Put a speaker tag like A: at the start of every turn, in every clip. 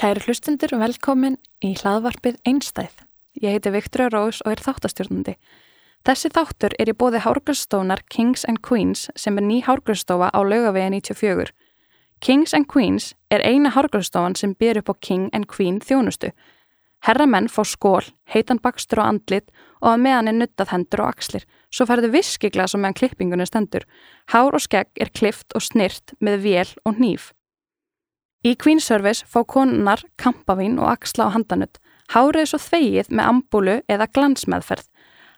A: Kæri hlustundur, velkomin í hlaðvarpið Einstæð. Ég heiti Viktor Rós og er þáttastjórnandi. Þessi þáttur er í bóði Hárgrösstónar Kings and Queens sem er ný Hárgrösstóa á laugavegi 94. Kings and Queens er eina Hárgrösstóan sem byr upp á King and Queen þjónustu. Herramenn fá skól, heitan bakstur og andlit og að meðan er nuttað hendur og axlir. Svo færðu viskiglas og meðan klippingunni stendur. Hár og skegg er klift og snirt með vél og hníf. Í Queen Service fá konunnar kampavín og axla á handanutt, hárið er svo þvegið með ambúlu eða glansmeðferð,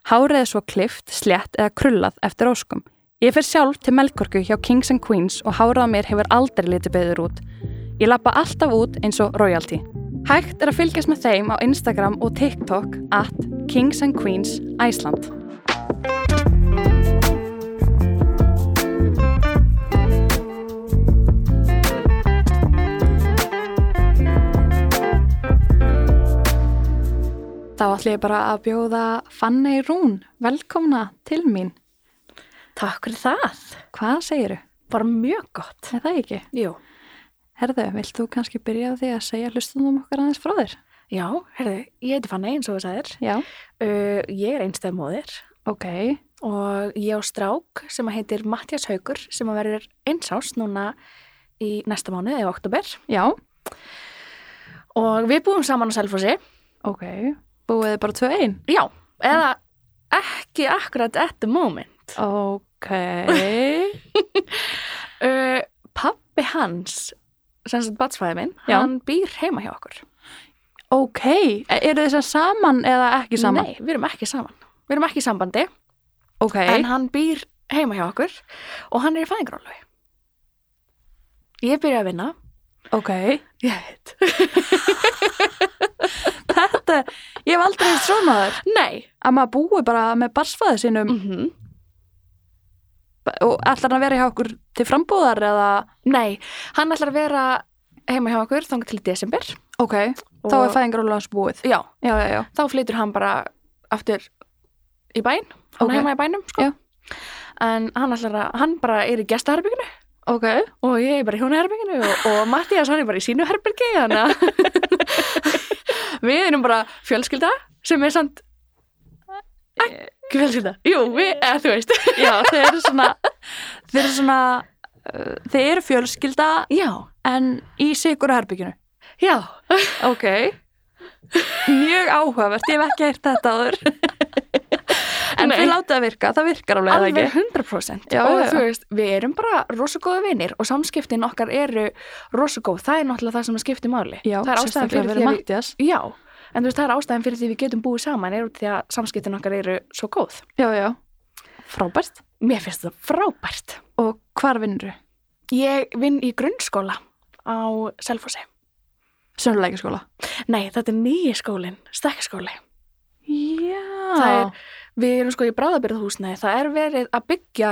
A: hárið er svo klift, slétt eða krullað eftir óskum. Ég fer sjálf til Melkorku hjá Kings and Queens og hárið á mér hefur aldrei litið beður út. Ég lappa alltaf út eins og royalty. Hægt er að fylgjast með þeim á Instagram og TikTok at Kings and Queens Iceland. Þá ætlum ég bara að bjóða Fanney Rún velkomna til mín.
B: Takk fyrir það.
A: Hvað segiru?
B: Bara mjög gott.
A: Er það ekki?
B: Jú.
A: Herðu, vilt þú kannski byrja á því að segja hlustunum okkar aðeins frá þér?
B: Já, herðu, ég heiti Fanna eins og þú sagðir.
A: Já.
B: Uh, ég er einstæð móðir
A: Ok.
B: og ég á strák sem að heitir Mattias Haugur sem að verður einsás núna í næsta mánu eða oktober.
A: Já.
B: Og við búum saman á Selfossi.
A: Ok. Búið þið bara tvö einn?
B: Já, eða ekki akkurat at the moment.
A: Ok.
B: Uh, pappi hans, sem sagt batsfæði minn,
A: Já.
B: hann býr heima hjá okkur.
A: ok. E- Eru þið sem saman eða ekki saman?
B: Nei, við erum ekki saman. Við erum ekki í sambandi.
A: Ok.
B: en hann býr heima hjá okkur og hann er í fæðingarólu ég byrja að vinna
A: Ok.
B: ég veit
A: Þetta, ég hef aldrei hitt svona þar.
B: nei
A: Að maður búið bara með barsfæði sínum og ætlar hann að vera hjá okkur til frambúðar eða?
B: nei, hann ætlar að vera heima hjá okkur þangar til í desember
A: Ok. Þá er fæðingarólu hans búið.
B: já,
A: Já, já, já.
B: þá flytur hann bara aftur í bæn hann
A: Ok.
B: er heima í bænum sko.
A: Já.
B: en hann ætlar að, hann bara er í gestaherbygginu
A: Ok.
B: og ég er bara í hjónaherbygginu og, og Mattias hann er bara í sínu herbyggi þannig að við erum bara fjölskylda sem er samt ekki fjölskylda, jú, við,
A: Eh.
B: eða þú veist
A: Já, þeir eru svona, þeir eru svona, uh, þeir eru fjölskylda
B: já,
A: en í sigur herbygginu.
B: já,
A: Ok. Mjög áhugavert, ég hef ekki heyrt þetta áður. En
B: Nei.
A: þið látið að virka, það virkar alveg eða
B: alveg
A: ekki.
B: 100%
A: Já,
B: og
A: já, já.
B: þú veist, við erum bara rosagóða vinir og samskiptin okkar eru rosagóð, það er náttúrulega það sem skiptir máli
A: Já,
B: það er ástæðan
A: sérstaklega
B: fyrir því að við
A: Matthías.
B: já, en þú veist, það er ástæðan fyrir því við getum búið saman er út því að samskiptin okkar eru svo góð
A: Já, já. Frábært.
B: mér finnst það frábært
A: Og hvar vinnur þú?
B: Ég vinn í grunnskóla á Selfossi.
A: Sönnuleika skóla.
B: Nei, þetta er nýji skólinn, stekkaskóli.
A: Já.
B: Það er, við erum sko í bráðabyrðhúsnaði, það er verið að byggja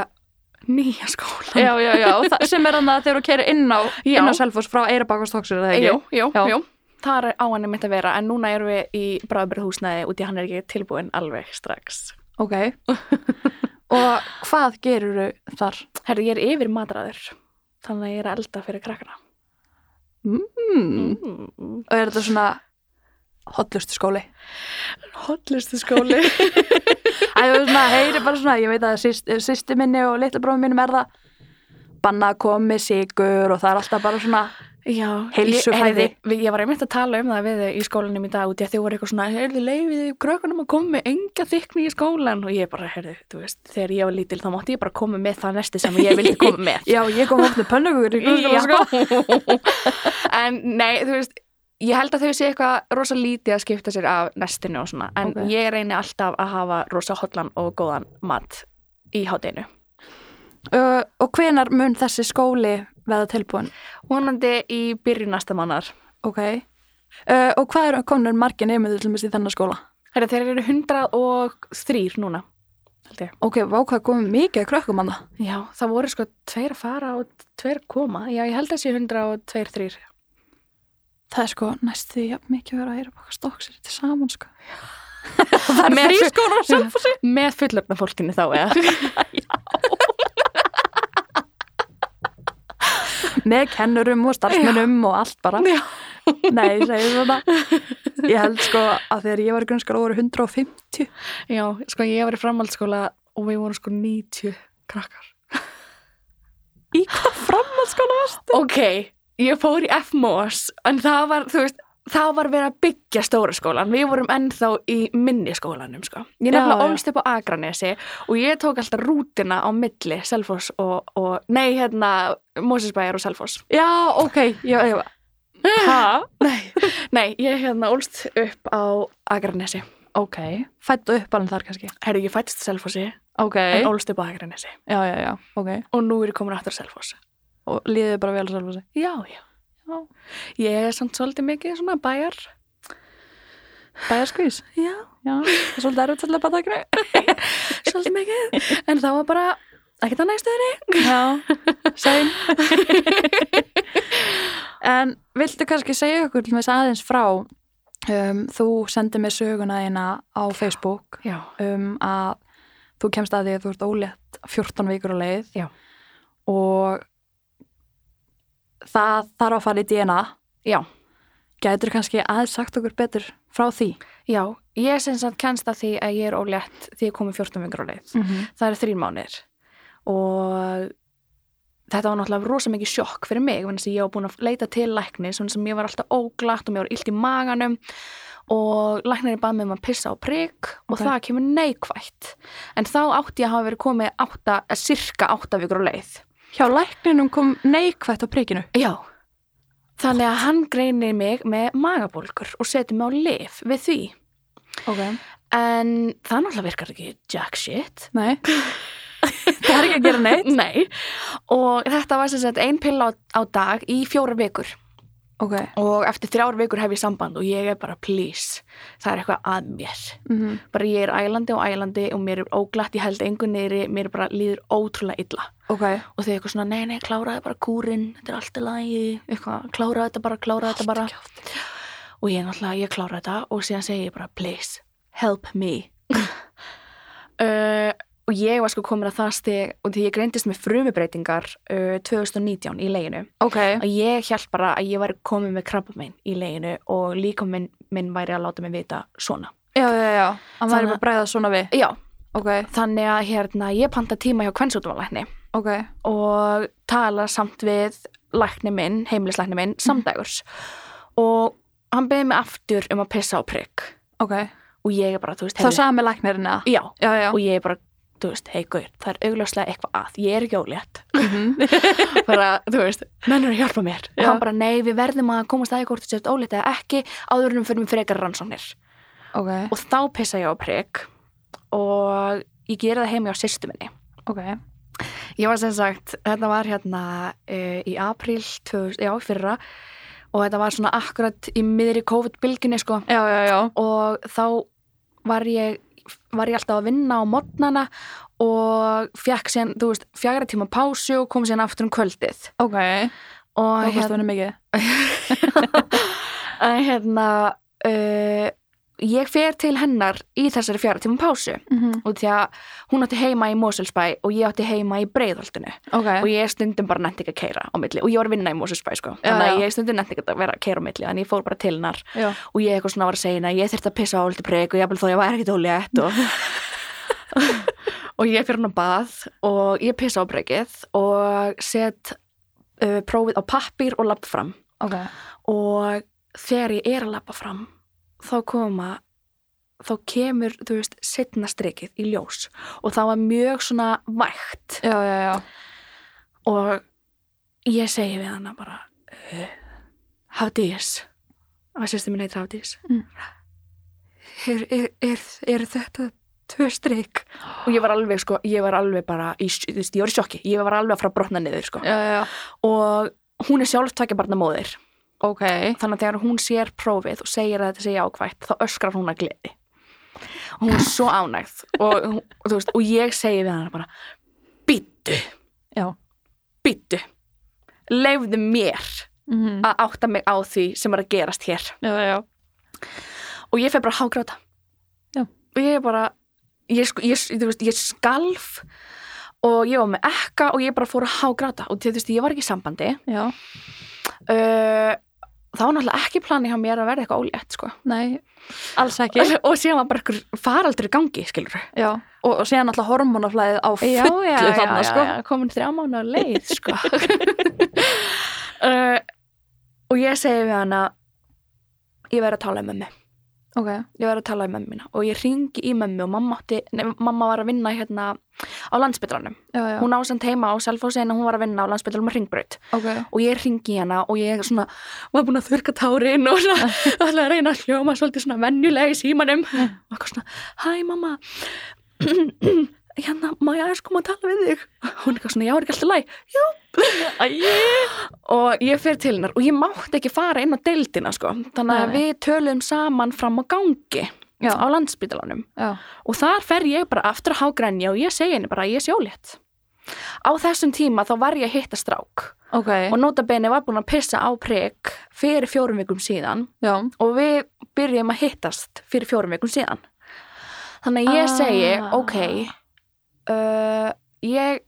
B: nýja skóla.
A: Já, já, já, og það, sem er annað að þeir eru að keira inn á,
B: Já.
A: inn á Selfoss frá Eirabakastóksir, eða ekki?
B: jú, jú,
A: Já.
B: jú. Það er á hann einmitt að vera, en núna erum við í bráðabyrðhúsnaði út í að hann er ekki tilbúin alveg strax.
A: Ok. og hvað gerur þar?
B: Herri, ég er yfir matræður, þannig að ég er að elda fyrir krakkana.
A: Hmm.
B: Mm.
A: Og er þetta svona hotlustu skóli?
B: Hotlistu skóli.
A: Æ, þú veist, maður heyri bara svona, ég veit að sýst, sýsti minni og litla bróðum mínum er það banna að koma með sigur og það er alltaf bara svona
B: Já,
A: Heilsufræði.
B: Ég, heyrði- við- ég var einmitt að tala um það við þau í skólanum í dag út í að þau voru eitthvað svona, heyrðu, leiðið krökkunum að koma með enga þykni í skólan og ég bara, heyrðu, þú veist, þegar ég var lítil þá mátti ég bara koma með það næsti sem ég vildi koma með.
A: Já, ég kom upp með pönnugur í grunnskóla, sko.
B: sko. en nei, þú veist, ég held að þau sé eitthvað rosa lítið að skipta sér af nestinu og svona, en
A: Ok.
B: ég reyni alltaf að hafa rosa hotlan og góðan mat í hátinu.
A: Uh, og hvenar mun þessi skóli veða tilbúin?
B: Vonandi í byrjun næsta mannar.
A: Ok. Uh, og hvað eru konur margir nefnir til mér í þennan skóla?
B: Herra, þeir eru 103 núna, held ég.
A: Ok, vá hvað komið mikið að krökkum hann
B: Já, það voru sko tveir að fara og tveir koma. Já, ég held að sé 102, 3.
A: Það er sko næstu því jafn mikið að vera að heyra baka stokksir til saman, sko. það er
B: Með
A: þrý
B: þessu-
A: skóla sem fór sér.
B: Með fullöfna fólkinu þá, eða?
A: Með kennurum og starfsmennum og allt bara.
B: Já.
A: Nei, ég segi svona Ég held sko að þegar ég var í grunnskóla voru 150
B: Já, sko ég var í framhaldsskóla og við vorum sko 90 krakkar.
A: Í hvað framhaldsskóla varstu?
B: Ok, ég fór í FMOS en það var, þú veist, það var verið að byggja stóra skólan. Við vorum ennþá í minni skólanum, sko. Ég
A: Já,
B: nefnilega
A: já.
B: ólst upp á Akranesi og ég tók alltaf rútina á milli Selfoss og, og nei, hérna, Mósinsbæjar og Selfoss.
A: Já, ok, ég, ég,
B: Hæ? Nei, nei, ég hérna ólst upp á Akranesi.
A: ok, fættu upp alveg þar kannski
B: Herru, ég fættist Selfossi
A: Ok,
B: en ólst upp á Akranesi
A: já, já, já, ok
B: og nú er ég komin aftur á Selfoss.
A: Og líðið bara vel sjálf þessi
B: Já, já.
A: Já.
B: Ég er samt svolítið mikið svona bæjar.
A: Bæjarskvís,
B: Já.
A: já, það er svolítið erfitt til að bata ekki
B: Svolítið mikið. En það var bara ekkert annað í stöðinni.
A: Já, sæn En viltu kannski segja okkur til með þess aðeins frá um, Þú sendið mér söguna eina á Facebook
B: Já.
A: um að þú kemst að því að þú ert ólétt 14 vikur á leið
B: Já.
A: og það þarf að fara í DNA
B: Já.
A: gætur kannski aðeins sagt okkur betur frá því
B: Já. Ég sem sagt kennst að því að ég er ólétt því ég komið 14 vingur á leið.
A: mm -hmm.
B: Það eru þrín mánir. Og þetta var náttúrulega rosa mikið sjokk fyrir mig. Þannig að ég var búin að leita til lækni svona sem ég var alltaf óglatt og mér var illt í maganum. Og læknirinn bað mig um að pissa á prigg og
A: Ok.
B: það kemur neikvætt. En þá átti ég að hafa verið komið átta, eh, cirka átta vikur á leið.
A: Hjá lækninum kom neikvætt á prikinu
B: Já. Þannig að hann greinir mig með magabólkur og setur mig á lif við því.
A: okay.
B: En það náttúrulega virkar ekki jack shit.
A: Nei Það er ekki að gera neitt
B: Nei. Og þetta var sem sagt ein pilla á, á dag í fjóra vikur.
A: Ok
B: Og eftir þrjár vikur hef ég samband og ég er bara please. Það er eitthvað að mér.
A: mm
B: Bara ég er ælandi og ælandi og mér er óglatt, ég held engu neyri, mér er bara líður ótrúlega illa.
A: Ok
B: Og þau eitthvað svona, nei, nei, kláraði bara kúrin, þetta er allt í lagi, eitthvað, kláraði þetta bara, kláraði þetta bara. og ég náttúrulega, ég klára þetta og síðan segi ég bara, please, help me uh, og ég var sko komin að það steg og því ég greindist með frumubreitingar uh, 2019 í leginu
A: Ok
B: og ég held bara að ég væri komin með krabba minn í leginu og líka minn, minn væri að láta mig vita svona
A: Já, já, já Hann væri
B: Þannig-
A: bara að bræða svona við
B: já,
A: Ok,
B: þannig að hérna, ég panta tíma hjá kvennsútumalækni
A: ok
B: og tala samt við lækni minn, heimilislækni minn, samdægurs og hann beði mig aftur um að pissa á prigg
A: Ok
B: og ég er bara, þú veist,
A: Það
B: heyrðu-
A: sami læknirinn eða
B: Já,
A: Já, já
B: og ég er bara, þú veist, hei guður, það er augljóslega eitthvað að, ég er ekki ólétt.
A: Mhm.
B: bara, þú veist, mennur að hjálpa mér.
A: Já.
B: Og hann bara, nei, við verðum að komast aðeins hvort þú sért ólétt eða ekki, áðurinnum fyrir mér frekar rannsóknir.
A: Ok,
B: Og þá pissa ég á prigg og ég gera það heimi á sýstu minni.
A: ok
B: Ég var sem sagt, þetta var hérna uh, í april, 2000 já, í fyrra, og þetta var svona akkurat í miðri COVID-bylginni, sko.
A: Já, já, já
B: og þá var ég var ég alltaf að vinna á modnana og fekk síðan, þú veist, fjagra tíma pásu og kom síðan aftur um kvöldið
A: Ok,
B: og
A: það kostu henni mikið.
B: hérna, hérna uh, ég fer til hennar í þessari fjagra tíma pásu
A: Mhm.
B: og því að hún átti heima í Moselsbæ og ég átti heima í Breiðholtinu og
A: Ok,
B: ég stundum bara nefnt ekki að keira á milli og ég var að vinna í Moselsbæ sko,
A: Já,
B: þannig að
A: já.
B: ég stundum nefnt ekki að vera að keira á milli þannig að ég fór bara til hennar
A: já.
B: og ég eitthvað svona var að segja henni að ég þurfti að pissa á oldi preg og ég þó ég væri ekkert ólétt og, og ég fyrir hann á bað og ég pissa á pregið og set uh, prófið á pappir og lapp fram
A: Ok,
B: og þegar ég er að lappa fram þá koma þá kemur, þú veist, setna strikið í ljós og það var mjög svona vægt
A: já, já, já.
B: og ég segi við hana bara "Eh, Hafdís og sérstu mín heitir Hafdís
A: Mm.
B: er, er, er, er þetta tvö strik og ég var alveg sko, ég var alveg bara í, sj- þú veist, ég var í sjokki, ég var alveg að fara að brotna niður sko.
A: Já, já, já.
B: og hún er sjálf tvekja barna móðir
A: Ok,
B: þannig að þegar hún sér prófið og segir að þetta sé jákvætt þá öskrar hún að gleði og hún er svo ánægð og, hún- og, þú veist, og ég segi við hana bara býttu,
A: já.
B: býttu leifðu mér
A: Mm
B: að átta mig á því sem er að gerast hér
A: Já, já, já.
B: og ég fer bara að hágráta
A: Já.
B: og ég er bara ég, sko- ég, þú veist, ég skalf og ég var með ekka og ég bara fór að hágráta og þú veist, ég var ekki í sambandi
A: Já,
B: uh, þá var náttúrulega ekki plani hjá mér að verða eitthvað ólétt sko.
A: Nei, alls ekki.
B: og síðan var bara eitthvað faraldur í gangi skilur
A: Já, og, og síðan alltaf hormonaflæðið á fullu
B: já, já, já,
A: þannig,
B: já,
A: sko.
B: já, komin þrjá mánu á leið sko. uh, og ég segi við hana ég verð að tala um mömmu
A: Ok,
B: ég verð að tala um mömmina og ég ringi í mömmu og mamma, átti, nei, mamma var að vinna hérna á landsbytranum
A: já, já.
B: hún ásend heima á Selfossi en hún var að vinna á landsbytranum að ringbraut
A: ok,
B: og ég ringi hana og ég svona var búin að þurka tárin og svona alltaf að reyna að hljóma svolítið svona venjulega í símanum og eitthvað svona, hæ mamma hérna, má ég aðeins koma að tala við þig hún eitthvað svona, já, er ekki alltaf læg jú, æjé og ég fer til hennar og ég mátti ekki fara inn á deildina sko, þannig
A: Nei,
B: að
A: nei.
B: við tölum saman fram á gangi
A: Já.
B: á landsbytalanum
A: já.
B: og þar fer ég bara aftur að hágrænja og ég segi henni bara að ég sé ólétt á þessum tíma þá var ég að hitta strák
A: Ok,
B: og notabene var búin að pissa á prek fyrir fjórum vikum síðan
A: já.
B: og við byrjum að hittast fyrir fjórum vikum síðan þannig að ég
A: Ah.
B: segi ok uh, ég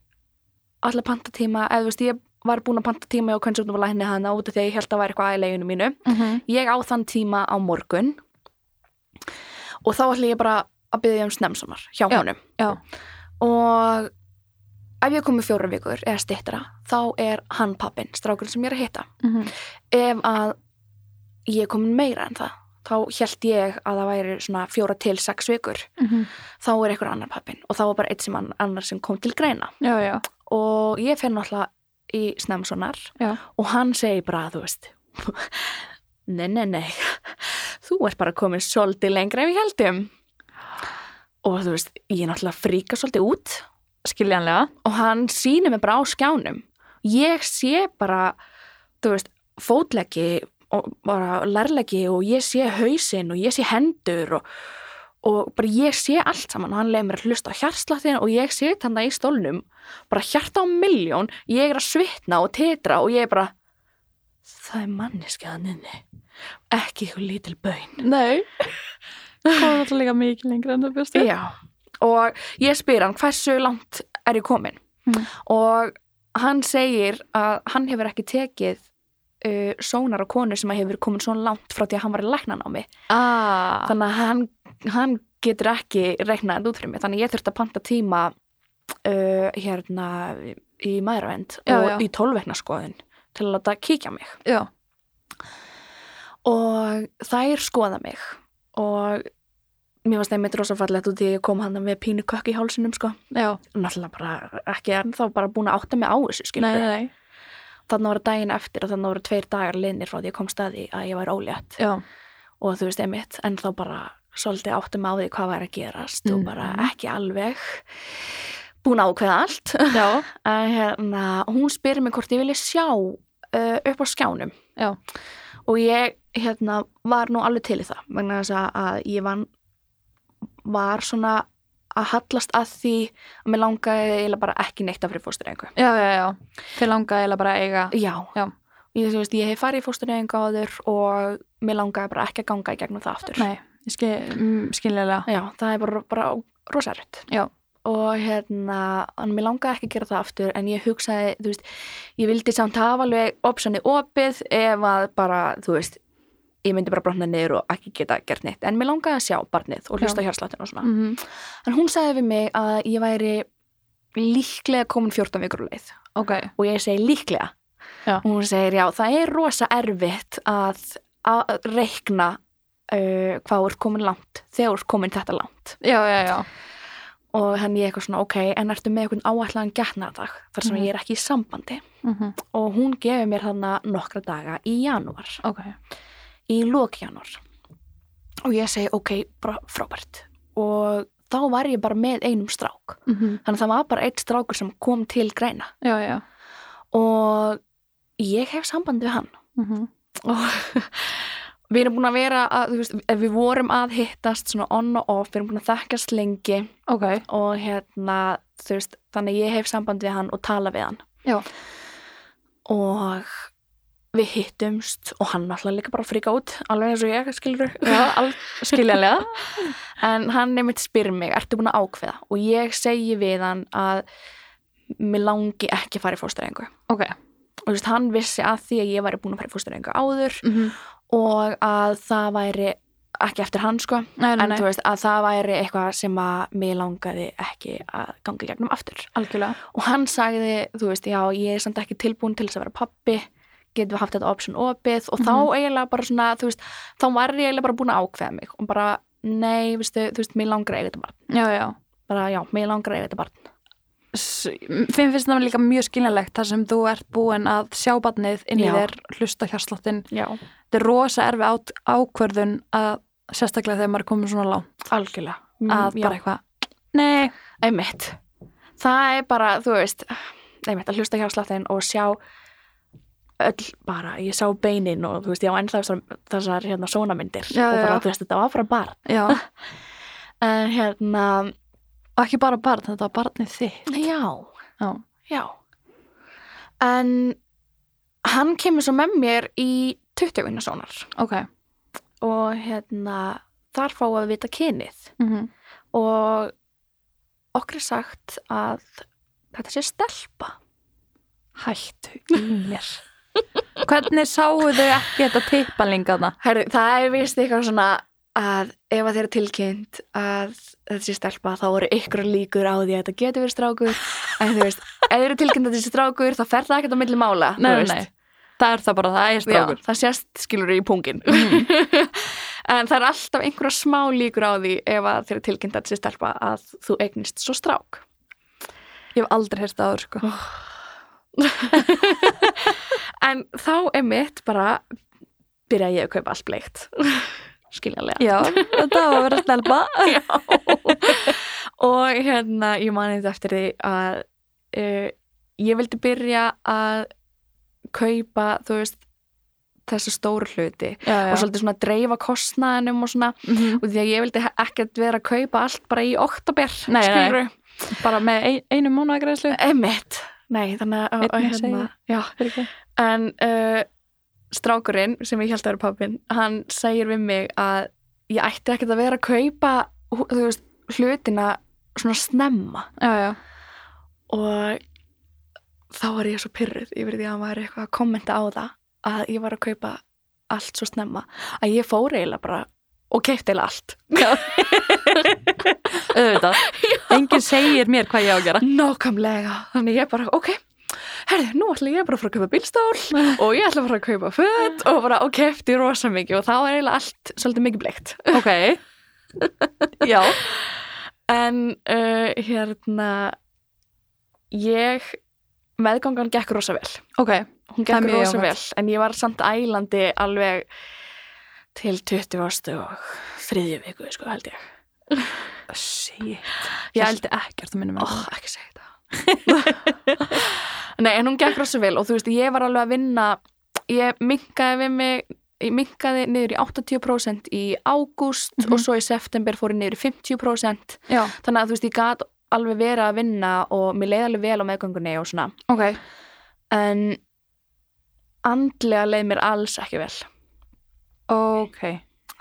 B: ætla að panta tíma eða þú veist ég var búin að panta tíma og hvernig svo var lækni hana út af því að ég held að væri eitthvað í leginu mínu
A: Mm
B: ég á þann tíma á morgun og þá ætla ég bara að byrja um snemsumar hjá
A: Já,
B: honum
A: já.
B: og ef ég komi fjórum vikur eða stittra þá er hann pappin, strákurinn sem ég er að hitta
A: Mhm.
B: ef að ég er komin meira en það þá held ég að það væri svona fjóra til sex vikur
A: Mhm.
B: þá er einhver annar pappin og þá var bara eitt sem ann- annar sem kom til greina
A: Já, já,
B: og ég fer náttúrulega í snemsonar
A: já.
B: og hann segir bara þú veist nei, nei, nei þú ert bara komin svolítið lengra ef ég heldum og þú veist, ég náttúrulega fríka svolítið út
A: Skiljanlega.
B: og hann sýnir mig bara á skjánum ég sé bara þú veist, fótleggi og bara lærleggi og ég sé hausinn og ég sé hendur og, og bara ég sé allt saman og hann leiði mér að hlusta á hjartslattin og ég sé þannig í stólnum bara hjarta á milljón, ég er að svitna og tetra og ég er bara það er manneskiðan inni ekki ykkur lítil bön
A: Nei. Komum alltaf líka mikið lengra en það bjóstu.
B: Já, og ég spyr hann hversu langt er ég komin
A: Mm.
B: og hann segir að hann hefur ekki tekið uh, sónar á konu sem hefur komin svona langt frá því að hann var í læknanámi
A: Ah.
B: þannig að hann, hann getur ekki reiknað þetta út fyrir mig, þannig að ég þurfti að panta tíma uh, hérna í maðurvend
A: Já,
B: og
A: já.
B: í tólveknaskoðun til að láta kíkja á mig
A: Já.
B: og þær skoða mig og mér varst einmitt rosafallegt út í að ég kom hann með pínu kökk í hálsinum sko
A: Já.
B: náttúrulega bara ekki en þá bara búin að átta mig á þessu
A: Nei,
B: skilur
A: nei, nei.
B: þannig að vera daginn eftir og þannig að vera tveir dagar liðnir frá því ég kom staði að ég var ólétt
A: Já.
B: og þú veist einmitt en þá bara svolítið átta mig á því hvað var að gerast og
A: Mhm.
B: bara ekki alveg búin að ákveða allt
A: Já.
B: að hérna, hún spyrir mig hvort ég vilja sjá uh, upp á skjánum
A: Já.
B: og ég hérna, var nú alveg til í það vegna þess að- að ég van, var svona að hallast að því að mér langaði eiginlega bara ekki neitt af fyrir fóstureyðingu
A: Já, já, já. Þið langaði eiginlega bara að eiga.
B: já,
A: Já.
B: Ég, þú veist, ég hef farið í fóstureyðingu áður og mér langaði bara ekki að ganga í gegnum það aftur
A: Nei, ég skil, mm, skiljanlega.
B: já, það er bara, bara rosarögt
A: Já.
B: og hérna, en mér langaði ekki að gera það aftur en ég hugsaði, þú veist ég vildi samt hafa alveg opsjoni opið ef að bara, þú veist ég myndi bara brotna niður og ekki geta gert neitt en mér langaði að sjá barnið og hlusta hérsláttinu og svona
A: Mm
B: en hún sagði við mig að ég væri líklega komin 14 vikur á leið
A: Ok.
B: og ég segi líklega
A: Já.
B: og hún segir já, það er rosa erfitt að, að reikna uh, hvað er komin langt þegar er komin þetta langt
A: Já, já, já.
B: og hann ég eitthvað svona ok, en ertu með einhvern áætlaðan getnaðardag þar sem
A: Mhm.
B: ég er ekki í sambandi
A: Mm
B: og hún gefur mér þarna nokkra daga í janúar,
A: Ok.
B: í lok janúar og ég segi ok, bara frábært og þá var ég bara með einum strák
A: Mm -hmm.
B: þannig að það var bara eitt strákur sem kom til greina
A: Já, já.
B: og ég hef sambandi við hann
A: Mm -hmm.
B: og við erum búin að vera að, þú veist, ef við vorum að hittast svona on og off, við erum búin að þekkast lengi
A: Ok.
B: og hérna, þú veist, þannig að ég hef samband við hann og tala við hann
A: Já.
B: og við hittumst og hann alltaf líka bara að fríka út alveg eins og ég, skilur
A: Já, all, skiljanlega.
B: en hann nefnt spyr mig, ertu búin að ákveða og ég segi við hann að mér langi ekki að fara í fóstræðingu
A: Ok.
B: og þú veist, hann vissi að því að ég væri búin að fara fóstur enga áður
A: mm -hmm.
B: og að það væri ekki eftir hann sko
A: nei, nei,
B: en þú
A: nei.
B: veist að það væri eitthvað sem að mig langaði ekki að ganga í gegnum aftur
A: algjörlega
B: og hann sagði, þú veist, já ég er samt ekki tilbúin til þess að vera pappi getum við haft þetta option opið og þá
A: Mhm.
B: eiginlega bara svona, þú veist, þá var ég eiginlega bara búin að ákveða mig og bara, nei, veistu, þú veist, mig langar að eiga þetta barn
A: já, já.
B: bara, já, mig langar að eiga þetta barn
A: S- Þeim finnst það líka mjög skiljanlegt þar sem þú ert búin að sjá batnið inn í
B: Já.
A: þér, hlusta hjarsláttin
B: já,
A: þetta er rosa erfi át, ákvörðun að sérstaklega þegar maður er komin svona lág
B: algjörlega
A: að
B: Mm, já,
A: bara eitthvað nei,
B: einmitt það er bara, þú veist einmitt, að hlusta hjársláttinn og sjá öll bara, ég sá beinin og þú veist, ég á ennþá þessar, þessar hérna sónamyndir
A: Já,
B: og
A: já,
B: bara,
A: já.
B: þú veist, þetta var bara barn
A: já, og
B: en hérna,
A: ekki bara barn, þetta var barnið þitt
B: já
A: já,
B: Já. En hann kemur svo með mér í 20 vinna sónar
A: ok
B: og hérna þar fáum við að vita kynið
A: mm
B: og okkur er sagt að þetta sé stelpa.
A: hættu í mér hvernig sáu þau ekki þetta tippalingana
B: Herri, það er vist eitthvað svona að ef að þeir eru tilkynnt að þetta sé stelpa þá eru ykkur líkur á því að þetta getur verið strákur en þú veist, ef þeir eru tilkynnt að þetta sé strákur þá fer það ekkert á milli mála þú
A: nei,
B: veist.
A: nei, það er það bara það er
B: Já,
A: strákur Mm.
B: það sést skilur í pungin en það er alltaf einhverja smá líkur á því ef að þeir eru tilkynnt að þessi stelpa að þú eignist svo strák
A: ég hef aldrei hérst áður sko
B: en þá er mitt bara byrja ég að kaupa allt bleikt skiljanlega
A: já, þetta var að vera stelpa
B: Já. og hérna ég mani þetta eftir því að uh, ég vildi byrja að kaupa þú veist þessu stóru hluti
A: já, já.
B: og svolítið svona dreifa kostnaðinum og svona
A: Mhm.
B: og því að ég vildi he- ekkert vera að kaupa allt bara í oktober
A: Nei, nei.
B: skilurðu.
A: bara með ein, einu mónagreðslu
B: Einmitt. nei, þannig að
A: Einnig
B: að-
A: segir.
B: já.
A: já,
B: en uh, strákurinn sem ég held að vera pappin hann segir við mig að ég ætti ekkert að vera að kaupa hú- þú veist, hlutina svona snemma
A: já,
B: og þá var ég svo pyrruð yfir því að hann var eitthvað að kommenta á það að ég var að kaupa allt svo snemma að ég fór eiginlega bara og keipti eiginlega allt
A: auðvitað enginn segir mér hvað ég á að gera
B: Nákvæmlega, þannig ég bara, ok Herði, nú ætla ég bara að fara að kaupa bílstól og ég ætla bara að kaupa föt og bara, ok, eftir rosa mikið og þá er eiginlega allt svolítið mikið bleikt
A: ok já,
B: En uh, hérna ég meðgangan gekk rosa vel
A: ok Það er
B: hún gekk
A: mjög
B: rosa
A: jákvætt.
B: vel, en ég var samt ælandi alveg til 20. og þriðju viku, sko, held ég
A: Shit.
B: Ég
A: Ég
B: held-
A: held ekkert að minna
B: Ó,
A: mig.
B: ekki segja þetta Nei, en hún gekk rosa vel og þú veist, ég var alveg að vinna ég minkaði við mig ég minkaði niður í 80% í ágúst
A: Mhm.
B: og svo í september fór ég niður í 50%
A: Já,
B: þannig að þú veist, ég gat alveg verið að vinna og mér leiði alveg vel á meðgöngunni og svona
A: ok.
B: en andlega leið mér alls ekki vel
A: Ok.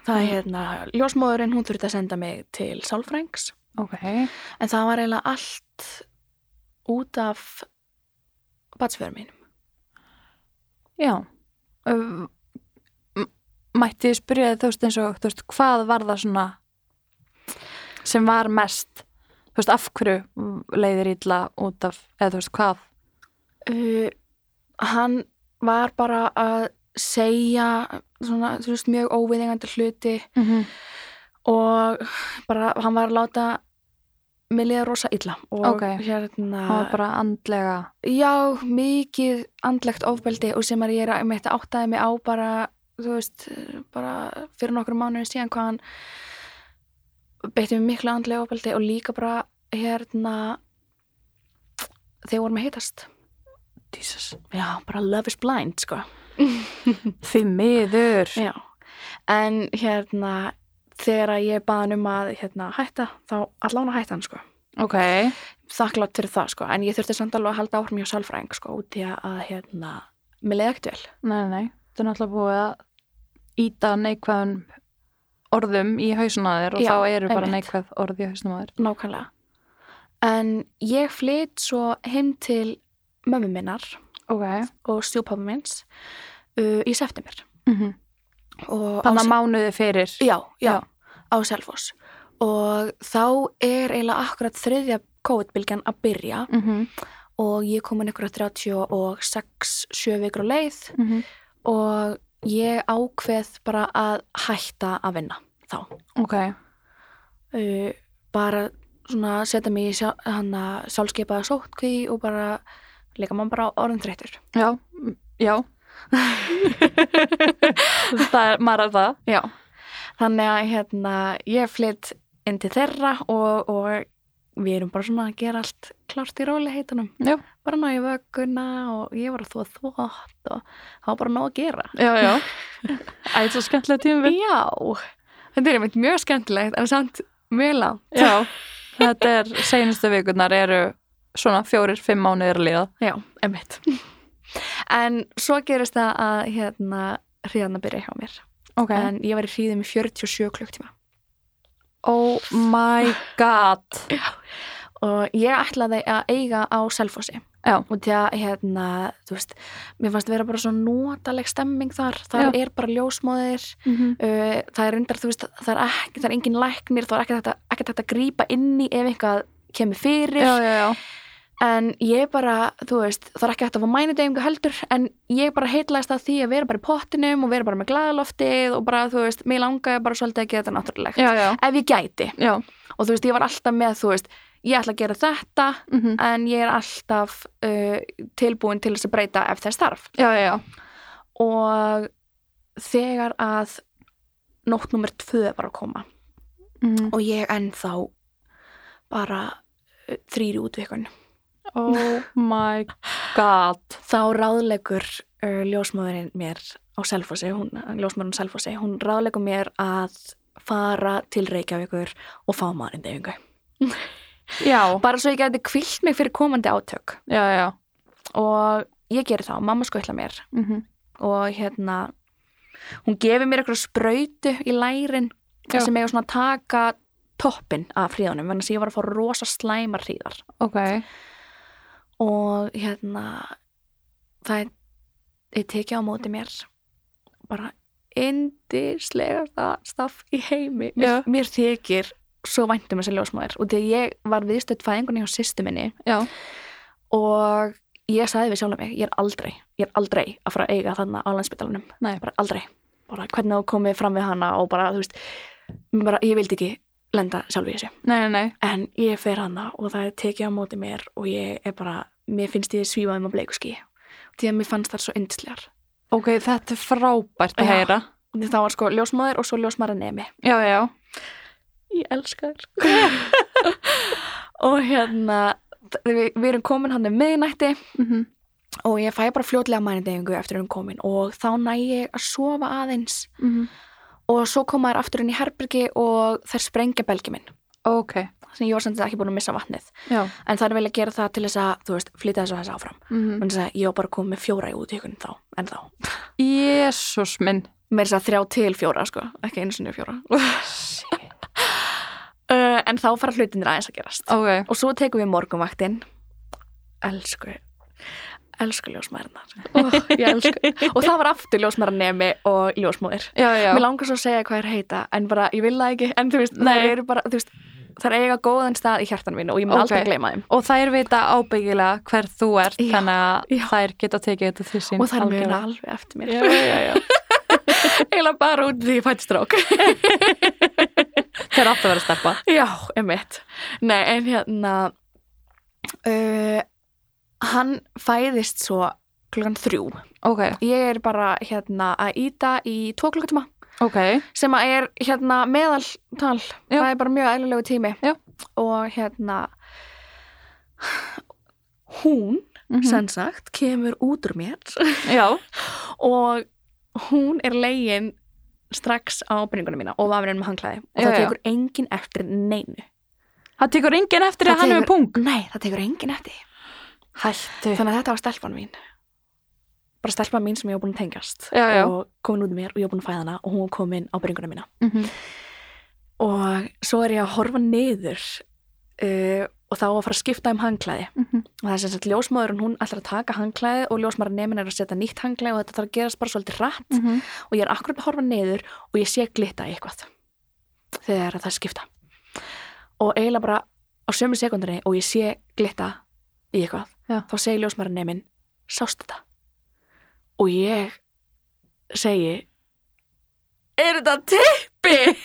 B: það er hérna, ljósmóðurinn hún þurfti að senda mig til sálfrængs
A: Ok.
B: En það var eiginlega allt út af batsfjörður mínum.
A: Já. Um, m- Mætti ég spyrja þig, þú veist eins og, þú veist, hvað var það svona sem var mest? Þú veist, af hverju leiðir ítla út af, eða þú veist, hvað?
B: Uh, hann var bara að segja svona, þú veist, mjög óviðingandi hluti
A: Mm -hmm.
B: og bara, hann var að láta mér liða rosa illa og
A: Ókei. Það
B: hérna,
A: var bara andlega.
B: já, mikið andlegt ofbeldi og sem að ég er að mitt áttaði mig á bara, þú veist, bara fyrir nokkru mánuðin síðan hvað hann beitti mig miklu andlega ofbeldi og líka bara hérna þegar vorum að hittast.
A: Jesus.
B: Já, bara love is blind, sko.
A: Því miður.
B: Já, en hérna þegar að ég baði hann um að hérna, hætta, þá allan að hætta hann, sko.
A: Ok.
B: Þakklátt fyrir það, sko, en ég þurfti samt alveg að halda áhrif mjög sálfræðing, sko, út í að, hérna, mér leiði ekkert vel.
A: Nei, nei. Þetta er náttúrulega búið að íta neikvæðum orðum í hausuna á þér og
B: Já,
A: þá eru bara
B: einmitt.
A: neikvæð orð í hausuna á þér.
B: Nákvæmlega. En ég flytt svo heim til mömmu minnar
A: ok
B: og stjúpappa minns uh, í september
A: mm -hmm.
B: og á
A: Þannig að mánuði fyrir
B: já,
A: Já.
B: já, á Selfoss og þá er eiginlega akkurat þriðja COVID-bylgjan að byrja
A: mm -hmm.
B: og ég kom inn ykkur að 36-7 vikur á leið
A: Mhm.
B: og ég ákveð bara að hætta að vinna þá
A: ok,
B: uh, bara svona setja mig í sjá, hana sjálfskeipaða sótkví og bara líka mann bara orðin þreytur
A: já, já það er, maður er það
B: já, þannig að hérna ég flytt inn til þeirra og, og við erum bara svona að gera allt klárt í róli heitunum
A: Já.
B: bara ná í vögguna og ég var að þú að þvótt og það var bara nóg að gera
A: já, já, æ, svo skemmtilega tíma
B: já, þetta er einmitt mjög skemmtilegt en samt mjög langt
A: já, þetta er seinustu vikunar eru svona fjórir, fimm mánuðir að líða
B: Já, emitt. En svo gerist það að hérna hríðan að byrja hjá mér.
A: ok,
B: En ég var í hríðum í 47 klukktíma.
A: oh my god
B: Og ég ætlaði að eiga á Selfossi.
A: Já.
B: Og því að hérna, þú veist, mér fannst vera bara svo notaleg stemming þar. Það er bara ljósmóðir.
A: mm -hmm.
B: Uh, það er reyndar, þú veist, það er, ekki, það er engin læknir. Það er ekkert hægt, að- ekkert hægt að grípa inn í ef eitthvað kemur fyrir.
A: já, já, já,
B: En ég bara, þú veist, það er ekki hægt að fá mænudeyfingu heldur, en ég bara heitlaðist að því að vera bara í pottinum og vera bara með glaðaloftið og bara, þú veist, mér langaði bara svolítið að gera þetta náttúrulegt.
A: já, já,
B: Ef ég gæti.
A: já.
B: Og þú veist, ég var alltaf með, þú veist, ég ætla að gera þetta,
A: Mm -hmm.
B: en ég er alltaf uh, tilbúin til þess að breyta ef þess þarf.
A: já, já, já,
B: Og þegar að nótt nummer tvö var að koma
A: mm.
B: og ég ennþá bara uh, þrýri útvikun.
A: oh my god
B: þá ráðlegur uh, ljósmóðurinn mér á Selfossi, hún, ljósmóðurinn á Selfossi, hún ráðlegur mér að fara til Reykjavíkur og fá maðurinn deyfingu.
A: já,
B: Bara svo ég geti kvilt mig fyrir komandi átök
A: já, já
B: og ég geri þá, mamma skutla mér
A: mm -hmm.
B: og hérna, hún gefur mér eitthvað sprautu í lærin
A: Já.
B: sem eiga svona að taka toppin af hríðunum, þannig að ég var að fá rosa slæmar hríðar.
A: ok,
B: og hérna það er, er tekið á móti mér bara indislegasta staff í heimi
A: Já.
B: mér, mér þykir svo væntum þessi ljósmáður og því að ég var viðstödd fæðingunni hjá sýstu minni
A: já,
B: og ég sagði við sjálf mig ég er aldrei, ég er aldrei að fara að eiga þarna á landspítalunum,
A: Nei.
B: bara aldrei bara hvernig þú komið fram við hana og bara þú veist, bara, ég vildi ekki lenda sjálf í þessu
A: nei, nei, nei
B: En ég fer hana og það er tekið á móti mér og ég er bara, mér finnst ég svífa um að bleiku skí. Því að mér fannst það svo yndislegar.
A: ok, þetta er frábært að
B: Já.
A: heyra
B: Því Það var sko ljósmaður og svo ljósmaður nemi.
A: já, já,
B: Ég elska þér. og hérna, þ- við, við erum komin hann um miðnætti
A: mm -hmm.
B: og ég fæ bara fljótlega mænindegingu eftir við erum komin og þá næ ég að sofa aðeins.
A: Mhm.
B: Og svo koma þær aftur inn í herbyrgi og þær sprengja belgi minn.
A: ok,
B: Þannig að ég var samt ekki búin að missa vatnið.
A: já
B: En þær vilja gera það til þess að, þú veist, flytta þess að þess áfram.
A: mm -hmm.
B: Þannig að ég var bara komið með fjóra í útíkun þá, en þá.
A: jésús minn
B: Mér er þess að þrjá til fjóra, sko, ekki einu sinni fjóra. Uh, en þá fara hlutinir aðeins að gerast.
A: ok,
B: Og svo tekum við morgunvaktinn. Elsku, elsku ljósmæðurnar. Oh, ég elsku. og það var aftur ljósmæðurnemi og ljósmóðir.
A: já, já
B: Mér langar svo að segja hvað er heita, en bara, ég vil það ekki, en þú veist,
A: Nei.
B: það eru bara, þú veist, það er eiga góðan stað í hjartan mínu og ég mun
A: Ok.
B: aldrei gleyma þeim.
A: og þær vita ábyggilega hver þú ert
B: Já,
A: þannig að
B: já.
A: þær geta tekið þetta til sín
B: Og það er mjög
A: algjörlega.
B: alveg eftir mér.
A: já, já, já.
B: Eila bara út af því ég fætt strók.
A: þeir áttu að vera steppa
B: Já, emitt. Nei, en hérna, uh, hann fæðist svo klukkan þrjú.
A: ok,
B: Ég er bara hérna að íta í tvo klukkutíma
A: ok,
B: sem að er hérna meðaltal.
A: Já.
B: Það er bara mjög eðlilegu tími.
A: Já.
B: Og hérna, hún,
A: mm
B: sem sagt, kemur út úr mér
A: já,
B: og hún er legin strax á byrningunum mína og vafrinn með hangklæði og
A: Já,
B: það
A: já.
B: tekur engin eftir neinu.
A: það tekur enginn eftir
B: Það
A: að hann er með
B: tekur-
A: pung
B: Nei, það tekur engin eftir.
A: hættu
B: Þannig að þetta var stelpan mín. Bara stelpan mín sem ég var búin að tengjast.
A: Já, já.
B: Og komin út um mér og ég var búin að fæða hana og hún var komin á bringuna
A: Mhm,
B: mína.
A: mm -hmm.
B: Og svo er ég að horfa niður uh, og þá að fara að skipta um hangklæði
A: Mhm.
B: og það er sem sagt ljósmaðurinn hún ætlar að taka hangklæði og ljósmaður nemin er að setja nýtt hangklæði og þetta þarf að gerast bara svolítið rætt
A: Mhm.
B: og ég er akkurat að horfa niður og ég sé glitta í eitthvað þegar það er skipta og eiginlega bara á sömu sekundinni og ég sé glitta í eitthvað
A: Já.
B: þá segir ljósmaður nemin sást þetta og ég segi er þetta tippi?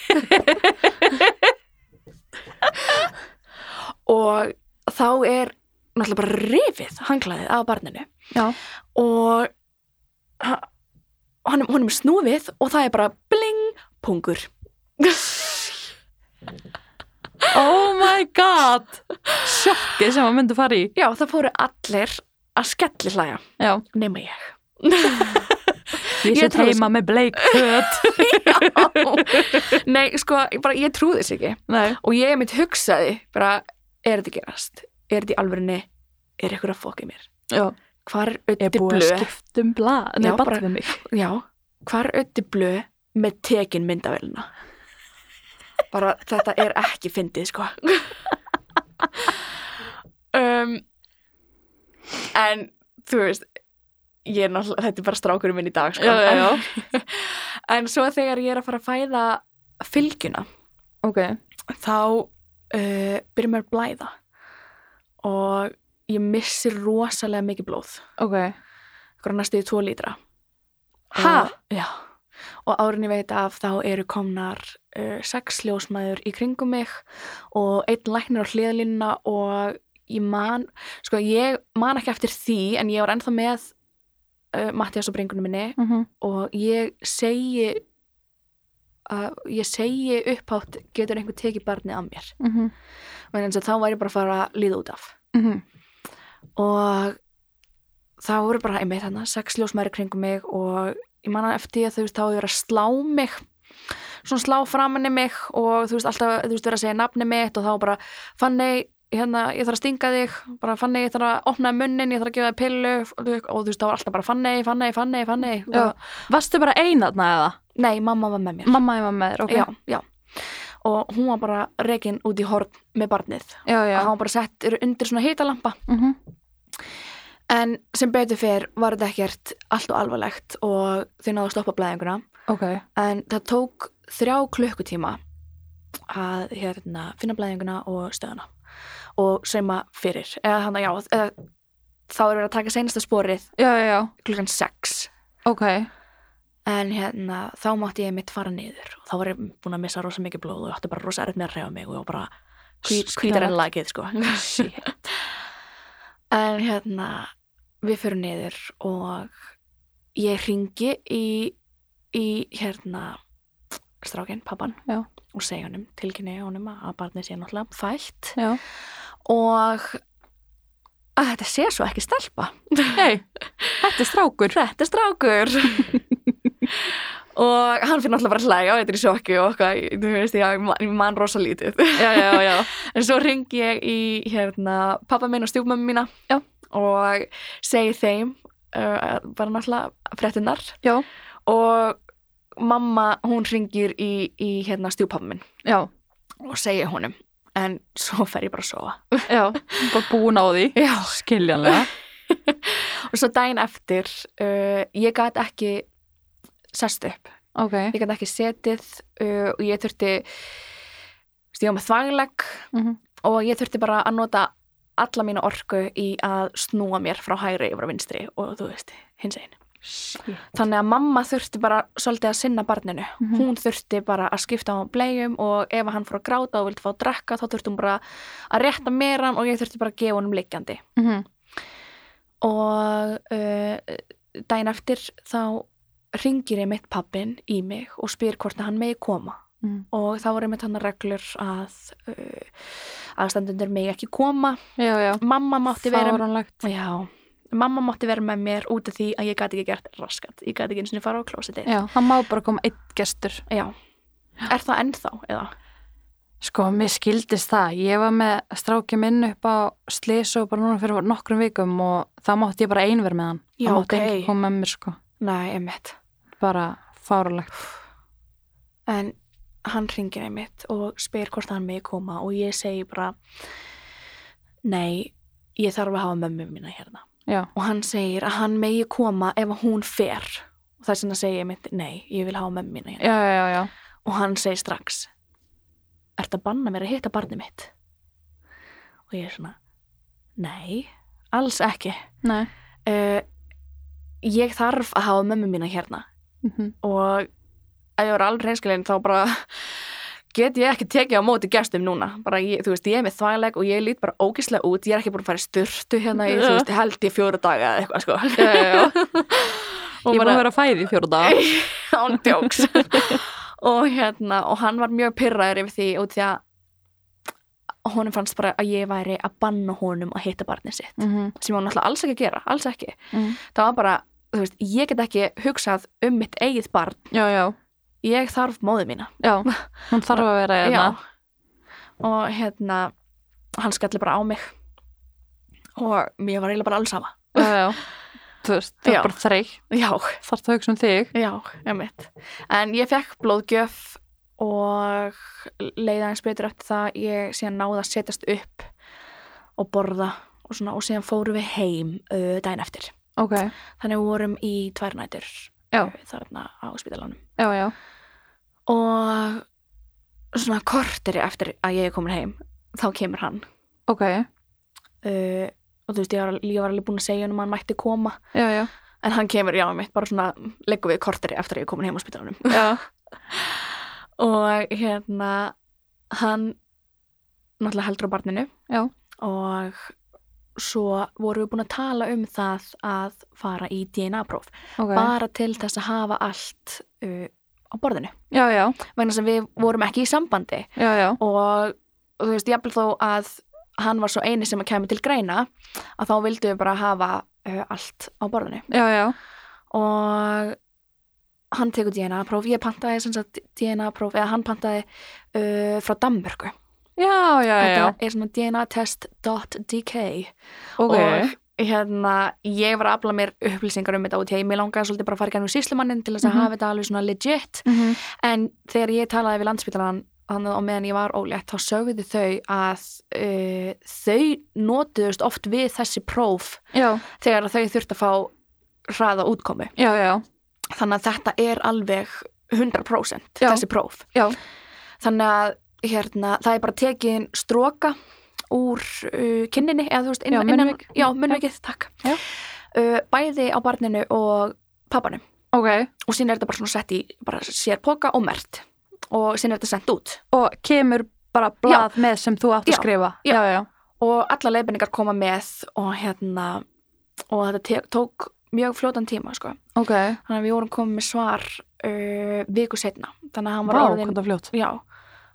B: og þá er náttúrulega bara rifið hanglaðið af barninu
A: Já.
B: og ha- honum, honum er snúfið og það er bara bling pungur
A: Oh my god Sjokkið sem maður myndi fara í
B: já það fóru allir að skelli hlæja
A: Já,
B: nema ég
A: ég
B: Ég
A: set
B: trúi
A: heima með bleik föt
B: nei sko ég, bara, ég trúði þess ekki
A: Nei,
B: og ég mitt hugsaði bara er þetta að gerast, er þetta í alvörinu er ykkur að fókið mér
A: já
B: hvar er
A: Ég er
B: ötti
A: búið
B: blöð
A: að skipta um blað Nei,
B: Já,
A: bara
B: bara-
A: við mig
B: já, hvar er ötti blöð með tekin myndavélina bara þetta er ekki fyndið sko um, en þú veist ég er náttúrulega, þetta er bara strákurinn minn í dag sko.
A: já
B: en svo þegar ég er að fara að fæða fylgjuna
A: Ok,
B: þá uh, byrjum mér að blæða og ég missi rosalega mikið blóð
A: ok
B: ykkur næstu í 2 lítra
A: Ha?
B: og, já, og árin ég veit af þá eru komnar uh, sex ljósmaður í kringum mig og einn læknir á hliðlínuna og ég man sko ég man ekki eftir því en ég var ennþá með uh, Mattias og brengunum minni
A: Mhm.
B: og ég segi að ég segi upphátt getur einhver tekið barnið af mér
A: Mhm.
B: og eins og þá var ég bara að fara að líða út af
A: Mhm.
B: og þá voru bara einmitt hann sex ljósmæri kringum mig og ég manna eftir því að þú veist þá hefur verið að slá mig svona slá framann í mig og þú veist alltaf þú veist verið að segja nafni mitt og þá bara fannig hérna ég þarf að stinga þig bara fannig ég þarf að opna munnin ég þarf að gefa þig pillu og þú og þú veist þá var alltaf bara fannig fannig fannig fannig
A: Já.
B: og,
A: Varstu bara einarna eða?
B: nei mamma var með mér
A: Mamma ég var með þér, ok
B: já, já og hún var bara rekin út í horn með barnið
A: já, já.
B: og hann var bara sett undir svona hitalampa
A: Mhm.
B: En sem betur fyrr var þetta ekkert allt og alvarlegt og þau náðu að stoppa blæðinguna.
A: Ok,
B: En það tók þrjá klukkutíma að hérna, finna blæðinguna og stöðuna og sauma fyrir. Eða þannig já, eða, þá er verið að taka seinasta sporið
A: já, já, já,
B: klukkan 6.
A: ok
B: En hérna, þá mátti ég mitt fara niður og þá var ég búin að missa rosa mikið blóð og ég átti bara rosa erfitt með að reyfa mig og ég var bara hvít-
A: Skjálft.
B: hvítar en lagið sko. En hérna, við fyrir niður og ég ringi í, í hérna strákinn, pappan
A: Já.
B: og segja honum, tilkynni honum að barnið sé náttúrulega fætt
A: Já,
B: og að þetta sé svo ekki stelpa.
A: hei, þetta er strákur
B: Þetta er strákur. og hann fyrir náttúrulega bara að hlæja og þetta er í sjokki og eitthvað, þú veist, ég man- ég man rosa lítið.
A: Já, já, já
B: En svo ringi ég í hérna, pappa minn og stjúpmömmu mína
A: Já.
B: og segi þeim uh, bara náttúrulega fréttinnar
A: Já,
B: og mamma hún ringir í, í hérna, stjúpappa minn
A: já,
B: og segi honum en svo fer ég bara að sofa.
A: já, bara búin á því
B: Já.
A: Skiljanlega
B: Og svo daginn eftir, uh, ég gat ekki sest upp,
A: Ok,
B: ég gat ekki setið uh, og ég þurfti, stíðum með þvaglegg
A: Mhm.
B: og ég þurfti bara að nota alla mína orku í að snúa mér frá hægri yfir á vinstri og þú veist, hins einn.
A: Shit.
B: Þannig að mamma þurfti bara svolítið að sinna barninu.
A: Mhm.
B: Hún þurfti bara að skipta á blegjum og ef hann fór að gráta og vildi fá að drekka þá þurfti hún bara að rétta mér hann og ég þurfti bara að gefa honum liggjandi.
A: Mhm.
B: Og uh, daginn eftir þá ringir ég mitt pappin í mig og spyr hvort að hann megi koma
A: Mhm.
B: og þá voru mitt hann reglur að uh, aðstandundur megi ekki koma.
A: Já, já
B: Mamma mátti vera
A: Fáránlegt
B: Já, mamma mátti vera með mér út af því að ég gæti ekki gert raskat. Ég gæti ekki eins og fara á klósitið.
A: Já, hann má bara koma einn gestur
B: Já. Er það ennþá, eða?
A: Sko, mér skildist það. Ég var með stráki minn upp á slis og bara núna fyrir nokkrum vikum og það mátti ég bara einver með hann.
B: Já,
A: það mátti
B: ok.
A: enginn koma með mér, sko.
B: Nei, einmitt.
A: Bara fárulegt.
B: En hann ringir einmitt og spyr hvort hann megi koma og ég segi bara nei, ég þarf að hafa mömmu mína hérna.
A: Já.
B: Og hann segir að hann megi koma ef að hún fer. Og þess vegna segi ég mitt, nei, ég vil hafa mömmu mína hérna.
A: Já, já, já, já.
B: Og hann segir strax, ert að banna mér að hitta barnið mitt? Og ég er svona, nei, alls ekki.
A: Nei.
B: Uh, ég þarf að hafa mömmu mína hérna.
A: Mm
B: og ef ég var alveg reynskilin þá bara get ég ekki tekið á móti gestum núna bara ég, þú veist, ég er með þvægleg og ég lít bara ógislega út, ég er ekki búin að fara í styrtu hérna í, þú veist, held í fjóra daga eða eitthvað sko
A: Já, já, já.
B: og
A: Ég bara...
B: bara
A: að vera að fæði í fjóra daga.
B: ándjóks og hérna, og hann var mjög pyrraður yfir því út því að honum fannst bara að ég væri að banna honum að hitta barnið sitt
A: Mm -hmm.
B: sem hann alltaf alls ekki að gera, alls ekki
A: Mm.
B: það var bara, þú veist, ég get ekki hugsað um mitt eigið barn,
A: Já, já,
B: ég þarf móðu mína
A: já. Hún þarf að vera
B: Já.
A: hérna.
B: og hérna hann skalli bara á mig og mér var eiginlega bara alls sama
A: Já, já. Þú veist, þú
B: Já.
A: er bara þreytt.
B: já,
A: Þarf það að hugsa um þig.
B: já, emitt en ég fekk blóðgjöf og leiði aðeins betur eftir það ég síðan náði að setjast upp og borða og svona og síðan fórum við heim uh, daginn eftir
A: Ok.
B: þannig við vorum í tvær nætur
A: Já.
B: uh, þarna á spítalanum
A: Já, já.
B: og svona korteri eftir að ég er komin heim þá kemur hann
A: Ok.
B: uh, og þú veist, ég var, ég var alveg búin að segja hann um að hann mætti koma,
A: Já, já.
B: en hann kemur, já, mitt bara svona, leggum við korteri eftir að ég er komin heim á spítalunum
A: Já.
B: og hérna hann náttúrulega heldur á barninu
A: Já.
B: og svo vorum við búin að tala um það að fara í DNA-próf
A: Ok.
B: bara til þess að hafa allt uh, á borðinu,
A: Já, já.
B: vegna sem við vorum ekki í sambandi
A: Já, já.
B: og og þú veist, jafnvel þó að hann var svo eini sem að kemur til greina að þá vildum við bara hafa uh, allt á borðinu
A: Já, já.
B: og hann tekur DNA-próf, ég pantaði sem sagt DNA-próf, eða hann pantaði uh, frá Danmörku
A: Já, já, já. já.
B: þetta er svona dnatest.dk
A: Ok.
B: og hérna, ég var að afla mér upplýsingar um þetta út, ég mér langaði svolítið bara að fara í gænum síslumannin til þess að
A: Mhm.
B: hafa þetta alveg svona legit
A: Mm
B: En þegar ég talaði við landspílaran hann og meðan ég var ólétt þá sögðu þau að uh, þau notuðust oft við þessi próf
A: Já,
B: þegar þau þurft að fá hraða útkomi.
A: já, já.
B: Þannig að þetta er alveg 100%
A: Já.
B: þessi próf.
A: Já.
B: Þannig að hérna, það er bara tekin stroka úr uh, kinninni eða þú veist
A: Já,
B: innan,
A: munnvik.
B: innan, já, munnvikið, takk.
A: Já.
B: Uh, bæði á barninu og pappanum
A: Ok.
B: og sín er þetta bara svona sett í bara sér poka og mert og sín er þetta sendt út
A: Og kemur bara blað með sem þú átt að
B: Já,
A: skrifa.
B: já.
A: já, já.
B: og alla leiðbendingar koma með og hérna og þetta te- tók mjög fljótan tíma sko.
A: Ok.
B: þannig að við vorum komið með svar uh, viku setna þannig að hann var
A: Vá,
B: orðin
A: hvað það fljótt.
B: já,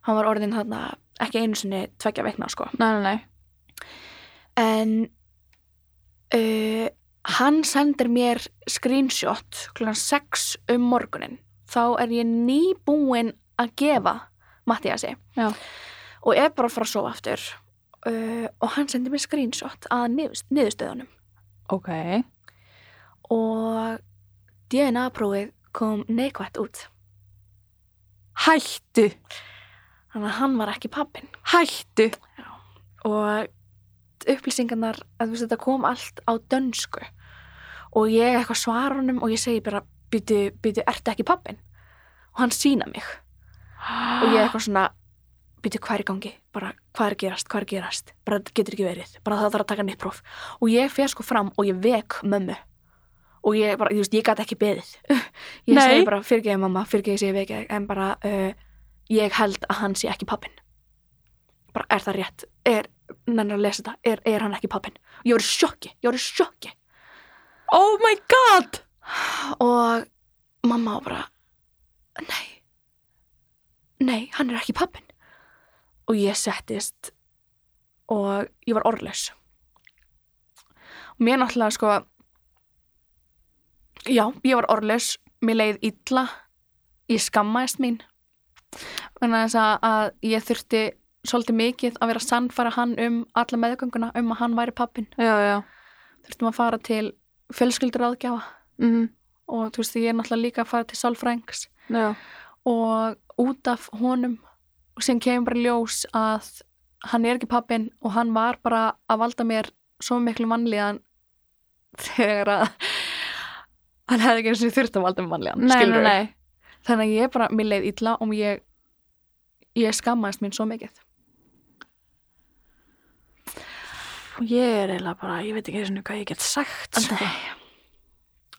B: hann var orðin þarna ekki einu sinni tveggja veikna sko.
A: Nei, nei, nei.
B: en uh, hann sendir mér screenshot klukkan 6 um morgunin þá er ég nýbúin að gefa Mattiasi
A: Já.
B: og er bara að fara að sofa aftur uh, og hann sendir mér screenshot að niðurst, niðurstöðunum
A: Ok.
B: og DNA-prófið kom neikvætt út
A: Hættu.
B: þannig að hann var ekki pappin
A: Hættu.
B: og upplýsingarnar að þú veist þetta kom allt á dönsku og ég eitthvað svara honum og ég segi bara býtu, býtu, ertu ekki pappin og hann sína mig og ég eitthvað svona býtu, hvað er í gangi, bara hvað er að gerast hvað er að gerast, bara þetta getur ekki verið bara það þarf að taka nýtt próf og ég fer sko fram og ég vek mömmu og ég bara, þú veist, ég gat ekki beðið ég
A: Nei.
B: segi bara, fyrirgeði mamma, fyrirgeði segi vekið en bara, uh, ég held að hann sé ekki pappin bara, er það rétt, er nennar að lesa þetta, er, er hann ekki pappin ég voru í sjokki, ég voru í sjokki
A: Oh my god.
B: og mamma var bara nei nei, hann er ekki pappin og ég settist og ég var orðlaus og mér náttúrulega sko já, ég var orðlaus mér leið illa ég skammaðist mín vegna þess að- að ég þurfti svolítið mikið að vera sannfæra hann um alla meðgönguna, um að hann væri pappin
A: Já, já.
B: þurftum að fara til fjölskylduráðgjafa
A: Mm.
B: og þú veist ég er náttúrulega líka að fara til sálfrængs
A: Já.
B: og út af honum og sem kemur bara í ljós að hann er ekki pappin og hann var bara að valda mér svo miklu mannlíðan þegar að hann hefði ekki eins og þurft að valda mér mannlíðan
A: Nei, nei,
B: skilurðu.
A: nei.
B: þannig að ég bara, mér leið illa og ég ég skammaðist mín svo mikið
A: Og Ég er eiginlega bara, ég veit ekki einu sinni hvað ég get sagt. Sko.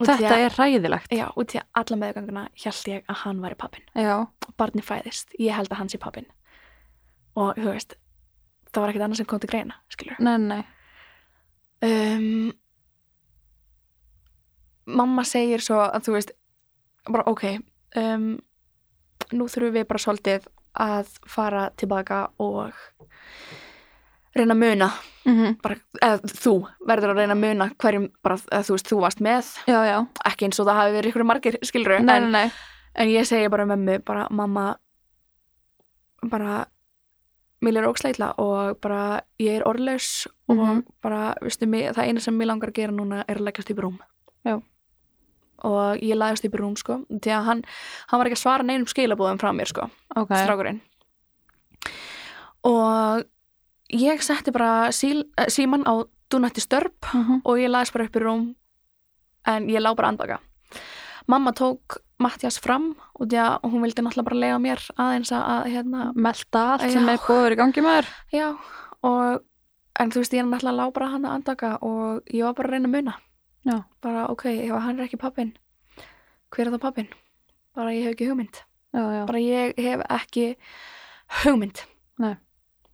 B: Og því
A: Þetta
B: að-
A: er ræðilegt.
B: já, út í að alla meðganguna held ég að hann væri pappin
A: Já.
B: og barni fæðist, ég held að hann sé pappin og þú veist það var ekkert annað sem kom til greina, skilur
A: Nei, nei.
B: um, mamma segir svo að þú veist bara ok um, nú þurfum við bara svolítið að fara tilbaka og reyna að muna
A: Mm
B: bara, eða, þú verður að reyna að muna hverjum bara, eða, þú veist, þú varst með
A: Já, já.
B: ekki eins og það hafi verið ykkur margir skilur
A: Nei,
B: en,
A: nei, nei.
B: en ég segi bara mömmu, bara mamma bara mér er óksleitla og bara ég er orðlaus
A: Mhm.
B: og bara, veistu mig, það eina sem mér langar að gera núna er að leggast upp í rúm
A: Já.
B: og ég lagast upp í rúm sko, því að hann, hann var ekki að svara neinum skilabóðum frá mér sko
A: Ok.
B: strákurinn og ég setti bara síl, eh, síman á dúnætti störp
A: Mhm.
B: og ég lagðist bara upp í rúm en ég lá bara andbaka mamma tók Mattias fram og því að hún vildi náttúrulega bara lega mér aðeins að- að hérna
A: Melta allt sem
B: Já.
A: er búður í gangi maður.
B: já og en þú veist ég er náttúrulega lá bara hann að andbaka og ég var bara að reyna að muna
A: Já.
B: bara ok, ef hann er ekki pappin hver er þá pappin? bara ég hef ekki hugmynd
A: Já, já.
B: bara ég hef ekki hugmynd
A: Nei.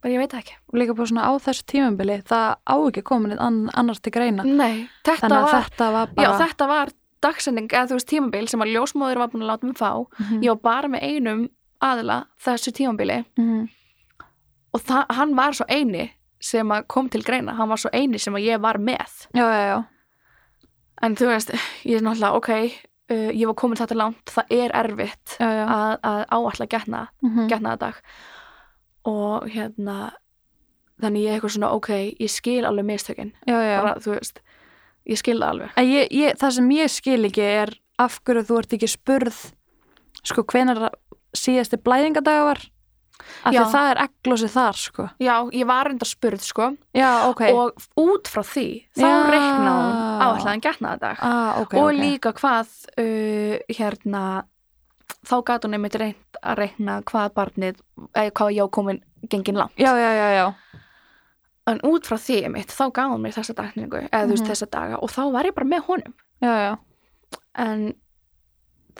B: bara ég veit það ekki
A: Og líka bara svona á þessu tímambili, það á ekki komin einn ann, annars til greina.
B: Nei, þetta
A: Þannig að
B: var,
A: þetta var bara...
B: já, þetta var dagsending, eða þú veist tímabil sem að ljósmóður var búin að láta mig fá
A: Mhm.
B: ég var bara með einum aðila þessu tímabili
A: Mhm.
B: og það, hann var svo eini sem að kom til greina, hann var svo eini sem að ég var með
A: Já, já, já.
B: en þú veist, ég er náttúrulega ok uh, ég var komin þetta langt, það er erfitt
A: Já, já.
B: að, að áallega getna,
A: Mhm.
B: getnaða dag og hérna þannig ég er eitthvað svona ok ég skil alveg mistökin,
A: Já, já.
B: bara þú veist ég skil það alveg
A: En Ég, ég, það sem ég skil ekki er af hverju þú ert ekki spurð sko hvenar síðasti blæðingadaga var af því
B: Já.
A: að það er egglósið þar sko
B: já, ég var enda spurð sko
A: Já, ok
B: og út frá því þá
A: Já.
B: reiknaði hún áallega getnaða dag
A: ah, okay,
B: og
A: ok.
B: líka hvað uh, hérna þá gat hún einmitt reynt að reyna hvað barnið, eða hvað ég á komin gengin langt.
A: Já, já, já, já
B: En út frá því einmitt, þá gaf hún mér þessa dagningu, eða þú veist
A: Mhm.
B: þessa daga og þá var ég bara með honum.
A: Já, já
B: En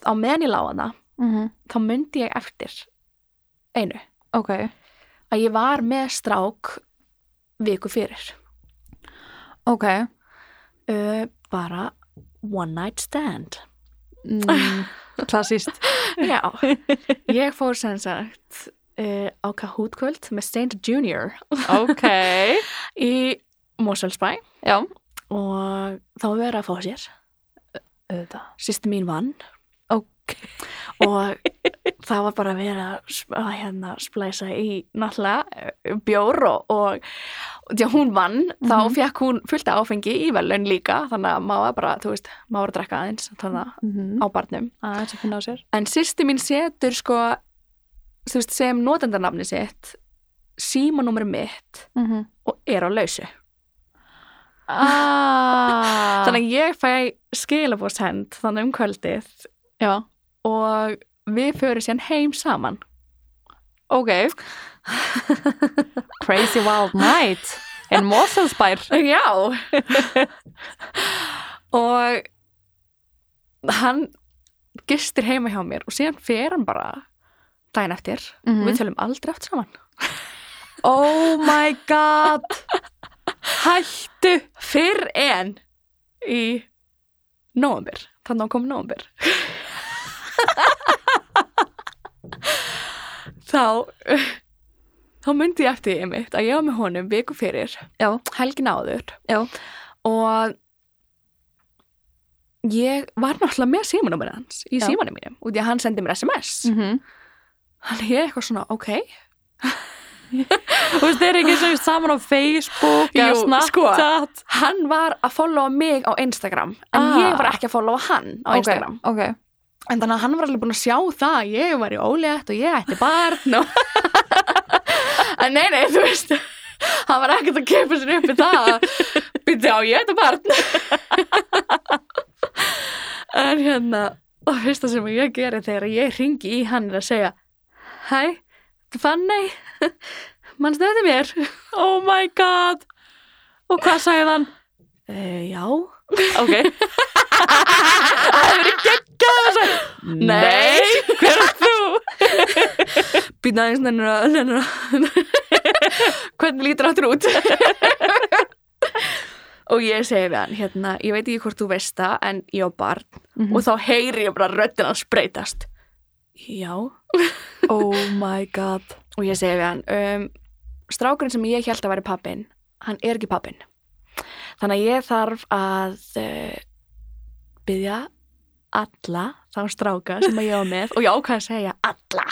B: á meðan ég lága það,
A: mm
B: þá myndi ég eftir einu,
A: Ok,
B: að ég var með strák viku fyrir.
A: ok
B: Uh, bara one night stand.
A: mm, Klassíst
B: Já, ég fór sem sagt uh, á Kahootkvöld með Saint Junior
A: Ok
B: í Mosfellsbæ
A: Já
B: og þá var verið að fá sér
A: Þetta
B: sýsti mín vann
A: Ok
B: og það var bara verið að, sp- að hérna, splæsa í náttúrulega eh, bjór og, og því að hún vann
A: Mhm.
B: þá fekk hún fullt af áfengi í velun líka þannig að maður var bara, þú veist, maður var að drekka aðeins þannig að
A: mm
B: á barnum
A: Það er sem finna á sér
B: en sýsti mín setur sko þú veist, sem notendarnafni sitt símanúmer mitt
A: mm -hmm.
B: og er á lausu
A: ah.
B: þannig að ég fæ skilabóðsend þannig um kvöldið
A: Já,
B: og við förum síðan heim saman
A: ok Crazy wild night In Moselsbær
B: Já Og hann gistir heima hjá mér og síðan fer hann bara daginn eftir
A: Mhm.
B: við tölum aldrei eftir saman
A: Oh my god Hættu
B: fyrr en í nóumbir, þannig að kom nóumbir þá þá myndi ég eftir ég mitt að ég var með honum viku fyrir
A: Já.
B: helgin áður
A: Já.
B: og ég var náttúrulega með símanúmerið hans í
A: Já.
B: símanum mínum og því að hann sendi mér SMS
A: -hmm.
B: þannig ég eitthvað svona, ok
A: Þú veist, þeir eru ekki sem saman á Facebook eða
B: Jú,
A: Snapchat
B: hann var að followa mig á Instagram en
A: Ah.
B: ég var ekki að followa hann á Instagram
A: Ok,
B: en þannig að hann var alveg búin að sjá það að ég var í ólétt og ég ætti barn og... en nei, nei, þú veist hann var ekkert að kepa sér upp í það byrði á ég þetta barn en hérna og fyrsta sem ég geri þegar ég ringi í hann er að segja hæ, þetta er Fanney mannstu þetta mér
A: Oh my god Og hvað sagði hann?
B: e, já,
A: Ok
B: nei
A: Hver er þú?
B: býta aðeins nennir að, nennir að hvernig lítur áttur út og ég segi við hann hérna, ég veit ekki hvort þú veist það en ég á barn
A: Mhm. Mm.
B: og þá heyri ég bara röddina hans breytast já og
A: Oh my god
B: ég segi við hann um, strákurinn sem ég held að væri pappin hann er ekki pappin þannig að ég þarf að uh, byggja alla þá stráka sem að ég á með og ég ákvað að segja alla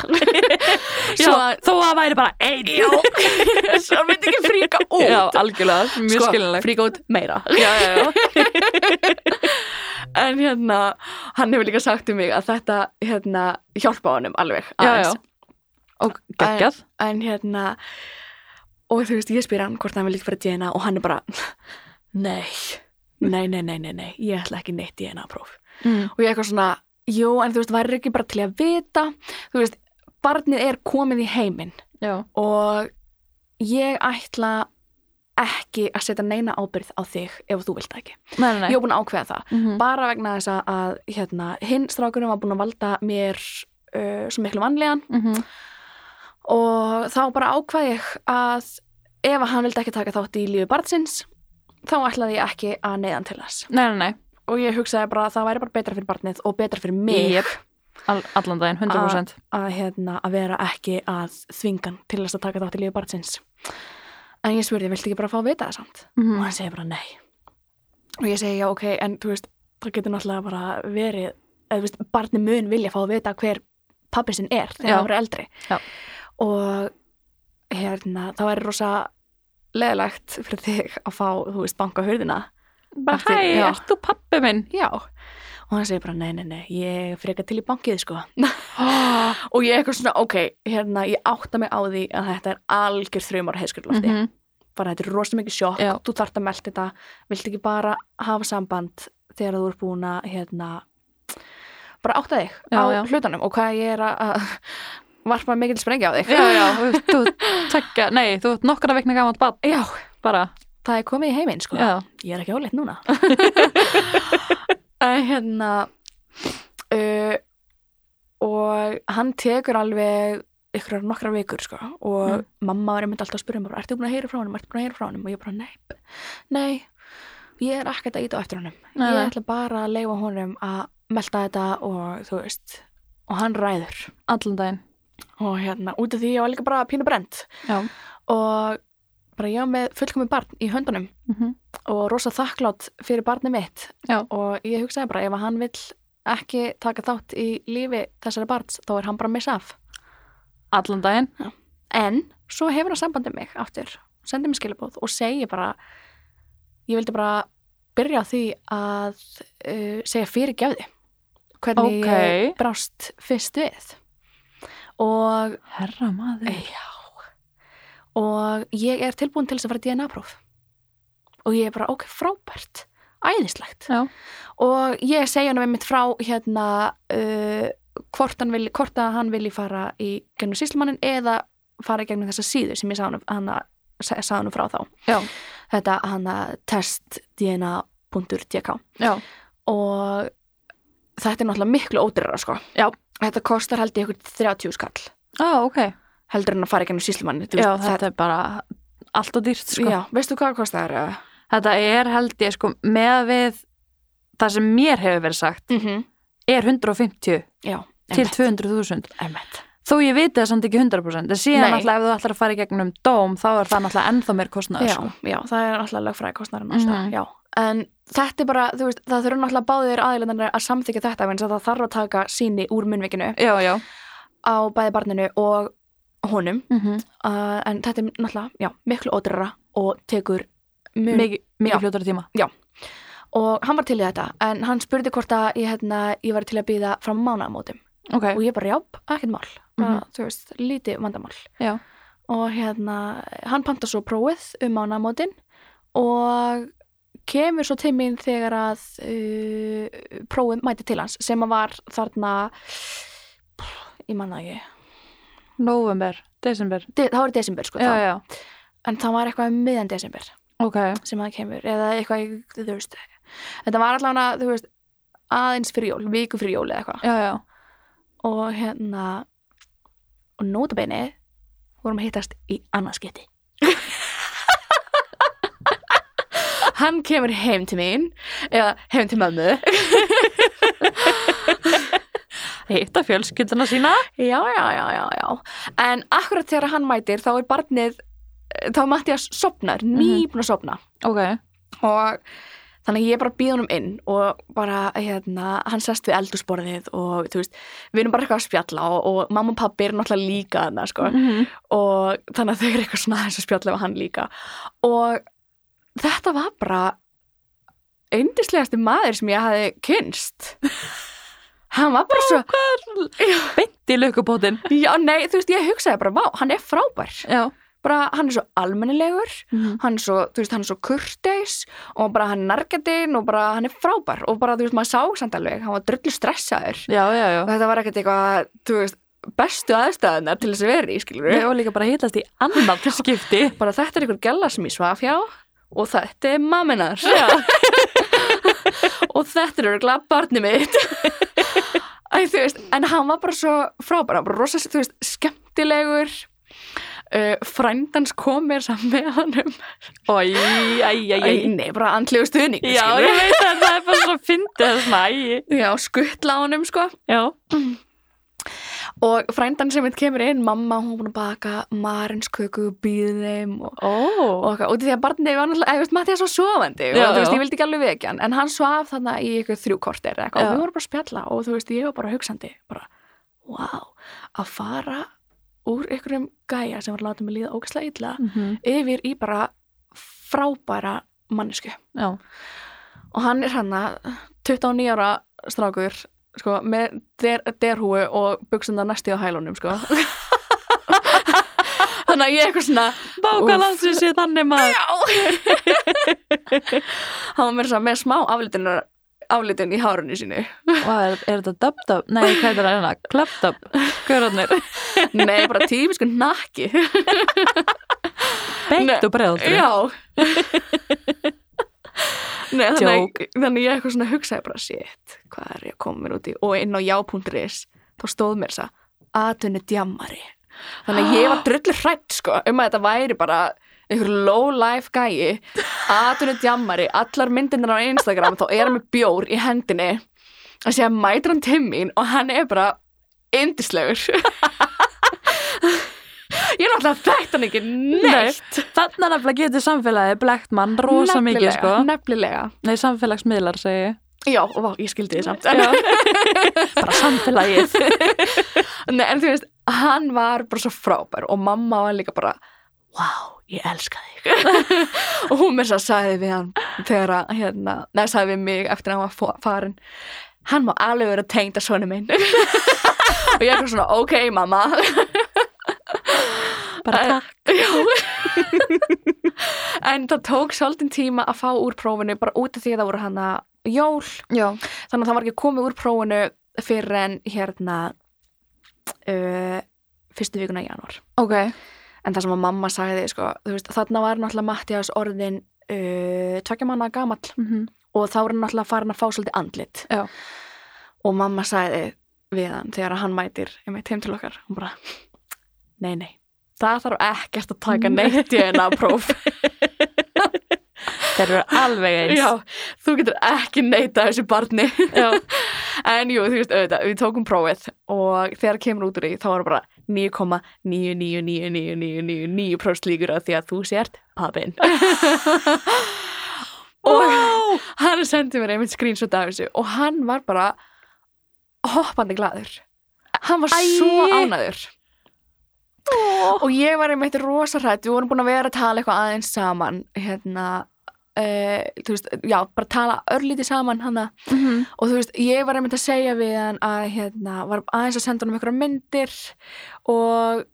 A: Já,
B: svo að
A: þó að það væri bara einn
B: Já, svo hann myndi ekki fríka út
A: Já, algjörlega, mjög
B: Sko,
A: sko, skiljanlegt
B: fríka út meira
A: Já, já, já
B: en hérna, hann hefur líka sagt um mig að þetta hérna, hjálpa honum alveg
A: Já,
B: aðeins.
A: já. Og geggjað
B: en hérna og þú veist, ég spyr hann hvort hann vil ekki fara í DNA og hann er bara nei, nei, nei, nei, nei, nei ég ætla ekki neitt DNA próf
A: mm.
B: og ég eitthvað svona, jú, en þú veist, væri ekki bara til að vita, þú veist barnið er komið í heiminn
A: Já,
B: og ég ætla ekki að setja neina ábyrð á þig ef þú vilt það ekki.
A: nei, nei, nei
B: Ég hef búin að ákveða það
A: Mhm.
B: bara vegna þess að- að hérna, hinn strákurinn var búin að valda mér uh, svo miklu vanlegan
A: Mhm.
B: og þá bara ákvað ég að ef að hann vildi ekki taka þátt í lífi barnsins þá ætlaði ég ekki að neyðan til þess
A: Nei, nei, nei,
B: og ég hugsaði bara að það væri bara betra fyrir barnið og betra fyrir mig
A: Jep. All, allan daginn, 100%
B: að, hérna, að vera ekki að þvingan til þess að taka þátt í lífi barnsins en ég spurði, viltu ekki bara fá að vita það samt og
A: Mhm.
B: hann segir bara nei Mm. og ég segi já ok, en þú veist það getur náttúrulega bara verið eða þú veist, barni mun vilja fá að vita hver pappi sinn er þegar
A: Já.
B: það verið eldri
A: Já.
B: og hérna, það væri rosa leðilegt fyrir þig að fá, þú veist, banka hurðina
A: Bara,
B: Eftir-
A: hæ,
B: já.
A: ert þú pappi minn?
B: já og hann segir bara nei, nei, nei, ég er frekar til í bankið sko
A: Oh,
B: og ég eitthvað svona, ok, hérna ég átta mig á því að þetta er algjör þrjumar heilskurlofti
A: Mhm.
B: bara þetta er rosa mikið sjokk,
A: Já.
B: þú þart að melda þetta vilt ekki bara hafa samband þegar þú ert búin að hérna, bara átta þig
A: Já,
B: á
A: já.
B: hlutunum og hvað ég er að- að varpa mikil sprengja á þig
A: Já, já, þú tekja, nei, þú ert nokkara veikna gamalt bad
B: Já,
A: bara,
B: það er komið í heiminn sko
A: já,
B: ég er ekki óleitt núna en hérna uh, og hann tekur alveg ykkur nokkra vikur sko og
A: Mm.
B: mamma var einmitt alltaf að spyrja mig bara, ertu búin að heyra frá honum, ertu búin að heyra frá honum og ég bara, nei, nei ég er ekkert að íta á eftir honum
A: Nei,
B: ég
A: nei.
B: ætla bara að leifa honum að melta þetta og þú veist og hann ræður
A: allan daginn
B: og hérna, út af því ég var líka bara pínu brend
A: Já,
B: og bara ég var með fullkomi barn í höndunum
A: mhm,
B: og rosa þakklátt fyrir barnið mitt
A: Já.
B: og ég hugsaði bara ef að hann vill ekki taka þátt í lífi þessari barns þá er hann bara að missa af
A: allan daginn
B: en svo hefur hann sambandið mig áttur sendið mér skilabóð og segi bara ég vildi bara byrja á því að uh, segja fyrir gefði hvernig
A: Ókei.
B: ég brást fyrst við og
A: Herra maður
B: já, og ég er tilbúin til þess að fara í DNA próf og ég er bara ok, frábært æðislegt
A: Já,
B: og ég segja hann einmitt frá hérna uh, hvort, hann vilji, hvort að hann vilji fara í gegnum síslumannin eða fara í gegnum þessa síðu sem ég sá hann, hann sagði hann frá þá
A: já,
B: þetta hann testdna.dk
A: já,
B: og þetta er náttúrulega miklu ódyrra sko
A: Já.
B: þetta kostar held ég ykkur 30 skall
A: á, ok
B: heldur en að fara í gegnum síslumannin
A: Já, þetta er bara allt og dýrt sko
B: já, veistu hvað kostar það?
A: Þetta er held ég sko með við það sem mér hefur verið sagt
B: Mm -hmm.
A: er 150
B: já,
A: Mhm. til 200.000
B: emmett
A: þó ég viti það samt ekki 100% en síðan
B: Nei.
A: náttúrulega ef þú ætlar að fara í gegnum dóm þá er það náttúrulega ennþá meir kostnaður
B: já,
A: sko.
B: já, það er náttúrulega lögfræðikostnarinn alltaf, um
A: Mhm.
B: já. En þetta er bara, þú veist, það þurfa náttúrulega báðir aðilendanir að samþykja þetta vegna þess að það þarf að taka síni úr munnvikinu
A: Já, já
B: á bæði barninu og honum
A: mm -hmm.
B: uh, en þetta er náttúrulega, já, miklu ódurra og tekur mun
A: Mikið
B: Já.
A: mikið fljótari tíma
B: og hann var til í þetta, en hann spurði hvort að ég, hérna, ég var til að býða fram mánaðamótum
A: Ok, Mhm.
B: og ég bara, já, ekkert mál bara, þú veist, lítið vandamál
A: já
B: og hérna, hann panta svo prófið um ánamótin og kemur svo til mín þegar að uh, prófið mæti til hans sem að var þarna ég manna ekki
A: November, desember.
B: De, það var í desember sko
A: Já,
B: þá.
A: já,
B: en það var eitthvað um miðan desember
A: ok.
B: sem það kemur eða eitthvað, í- þú veist þetta var allavega, þú veist aðeins fyrir jól, viku fyrir jól eða eitthvað
A: Já, já,
B: og hérna og nótabeini vorum að hittast í annarskipti hann kemur heim til mín eða heim til mömmu
A: hitta fjölskylduna sína.
B: já, já, já, já, já en akkurat þegar hann mætir þá er barnið þá er Mattias sopnar, nýbúin að sopna
A: Ok,
B: og þannig að ég bara býð honum inn og bara, hérna, hann sest við eldusborðið og, þú veist, við erum bara eitthvað að spjalla og, og mamma og pappi eru náttúrulega líka þarna, sko
A: Mhm.
B: og þannig að þau eru eitthvað svona aðeins að spjalla við hann líka og þetta var bara eindislegasti maður sem ég hafi kynst hann var bara svo
A: beint í lögubótin.
B: já nei þú veist ég hugsaði bara vá hann er frábær
A: Já.
B: bara hann er svo almennilegur
A: Mhm.
B: hann er svo, þú veist, hann er svo kurteis og bara hann er narkatinn og bara hann er frábær og bara, þú veist, maður sá samt alveg hann var drullu stressaður
A: Já, já, já.
B: og þetta var ekkert eitthvað, þú veist, bestu aðstæðunar til þess að vera í, skilur
A: Ég var líka bara að hittast í annan skipti.
B: bara þetta er ykkur gæla sem ég svaf hjá og þetta er mamminar
A: Já.
B: og þetta er örgulega barnið mitt Æ, þú veist, en hann var bara svo frábæra, bara rosa, þú veist, skemmtilegur uh, frændans komir saman með honum
A: Æj, æj, æj, æj.
B: Æ, nei, bara andlegu stuðning
A: Já,
B: skilurðu.
A: ég veit að það er bara svo fyndið það er svona, æj.
B: Já, skuttla á honum sko
A: Já.
B: og frændan sem mitt kemur inn, mamma hún búin að baka marinsköku og býð þeim og,
A: Ó.
B: og eitthvað, út í því að barnið var náttúrulega, eða, þú veist, Mattias var sofandi
A: Já,
B: og þú veist,
A: já.
B: ég vildi ekki alveg vekja hann en hann svaf þarna í ykkur þrjú kortir eitthvað,
A: Já.
B: og við vorum bara að spjalla og þú veist, ég var bara hugsandi bara, wow, að fara úr ykkurum gæja sem var að láta mig líða ógæslega illa
A: Mhm.
B: yfir í bara frábæra mannesku
A: Já.
B: og hann er hérna, hann 29 ára strákur sko, með der, derhúi og buksunda næsti á hælunum sko. þannig að ég er eitthvað svona
A: Báka landsins ég þannig maður.
B: já hann var með, með smá aflitin aflitin í hárunni sínu
A: Vá, er, er þetta dub-dub? Nei, hvað er þetta hérna? Klöp-dub? Hverjarnir?
B: nei, bara típisku nakki Nei.
A: Beint og bregðaldri.
B: já Nei, þannig, að-
A: Joke.
B: þannig að ég eitthvað svona hugsaði bara shit, hvað er ég að koma mér út í og inn á já.is, þá stóð mér þess að atvinni djammari þannig að ég var drullur hrætt sko um að þetta væri bara einhver low life gæi atvinni djammari, allar myndirnar á Instagram þá er hann með bjór í hendinni að segja mætir hann til mín og hann er bara yndislegur ég er náttúrulega þekkt hann ekki neitt
A: Þannig að nefnilega getur samfélagi blekt mann rosa mikið,
B: Nefnilega,
A: sko.
B: Nefnilega,
A: Nei, samfélagsmiðlar segi ég.
B: já, og vá, ég skildi þið samt
A: bara samfélagið
B: Nei, En þú veist, hann var bara svo frábær og mamma var líka bara Vá, ég elska þig Og hún með þess að sagði við hann þegar að, hérna, neða sagði við mig eftir að hann var fó- farinn Hann má alveg vera tengd að svona minn Og ég er svona, ok, mamma
A: bara
B: Æ.
A: takk
B: En það tók svolítinn tíma að fá úr prófinu bara út af því að það voru hann að jól
A: já,
B: þannig að það var ekki komið úr prófinu fyrir en hérna uh, fyrstu vikuna í janúar
A: ok
B: en það sem að mamma sagði sko, þú veist, þarna var náttúrulega Mattias orðin uh, tvekja manna gamall
A: Mhm.
B: og þá var hann náttúrulega farin að fá svolítið andlit
A: Já.
B: og mamma sagði við hann þegar hann mætir einmitt heim til okkar hún bara, nei nei það þarf ekkert að taka neitt í eina próf
A: þeir eru alveg eins
B: Já, þú getur ekki neita þessu barni
A: Já.
B: En jú, þú veist, auðvitað, við tókum prófið og þegar kemur út úr því þá var bara 9,99999% líkur að því að þú sért pappin Og
A: Vá.
B: hann sendi mér einmitt screenshot af þessu og hann var bara hoppandi glaður Hann var svo
A: Æi.
B: ánæður og ég var einmitt rosa hrætt, við vorum búin að vera að tala eitthvað aðeins saman hérna Uh, þú veist, já, bara tala örlítið saman hana
A: Mhm.
B: og þú veist, ég var einmitt að segja við hann að hérna, var aðeins að senda honum einhverjar myndir og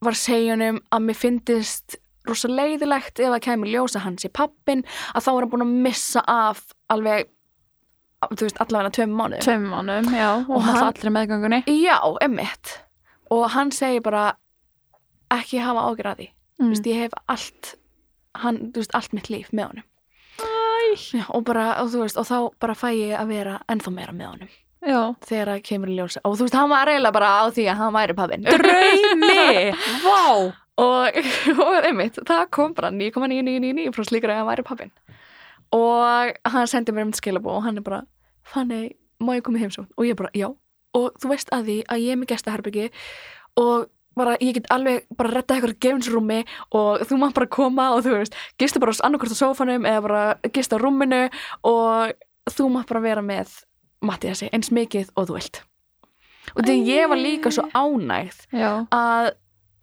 B: var að segja honum að mér fyndist rosa leiðilegt ef að kemur ljósa hans í pappin að þá var hann búin að missa af alveg, þú veist, allavega tveim mánuðum.
A: Tveim mánum, já, og,
B: Og
A: og hann
B: hann-
A: allri meðgöngunni.
B: Já, emmitt. Og hann segir bara ekki hafa ágjur að því. Þú veist, ég hef allt, hann, þú veist, allt mitt líf með honum.
A: Æ,
B: Já, og bara, og þú veist, og þá bara fæ ég að vera ennþá meira með honum
A: já.
B: þegar að kemur í ljósa. Og þú veist, hann var reyla bara á því að hann væri pappin.
A: Draumi! Vá!
B: og, og einmitt, það kom bara 9,999 frá slíkur að hann væri pappin og hann sendi mér um skilabó og hann er bara, Fanny, má ég koma í heimsókn? og ég bara, já, og þú veist að því að ég er með gestaherbyggi og bara, ég get alveg bara retta eitthvað gefinsrúmi og þú mátt bara koma og þú veist, gista bara annarkvort á sófanum eða bara gista á rúminu og þú mátt bara vera með Mattiasi, eins mikið og þú vilt og því ég var líka svo ánægð
A: Já,
B: að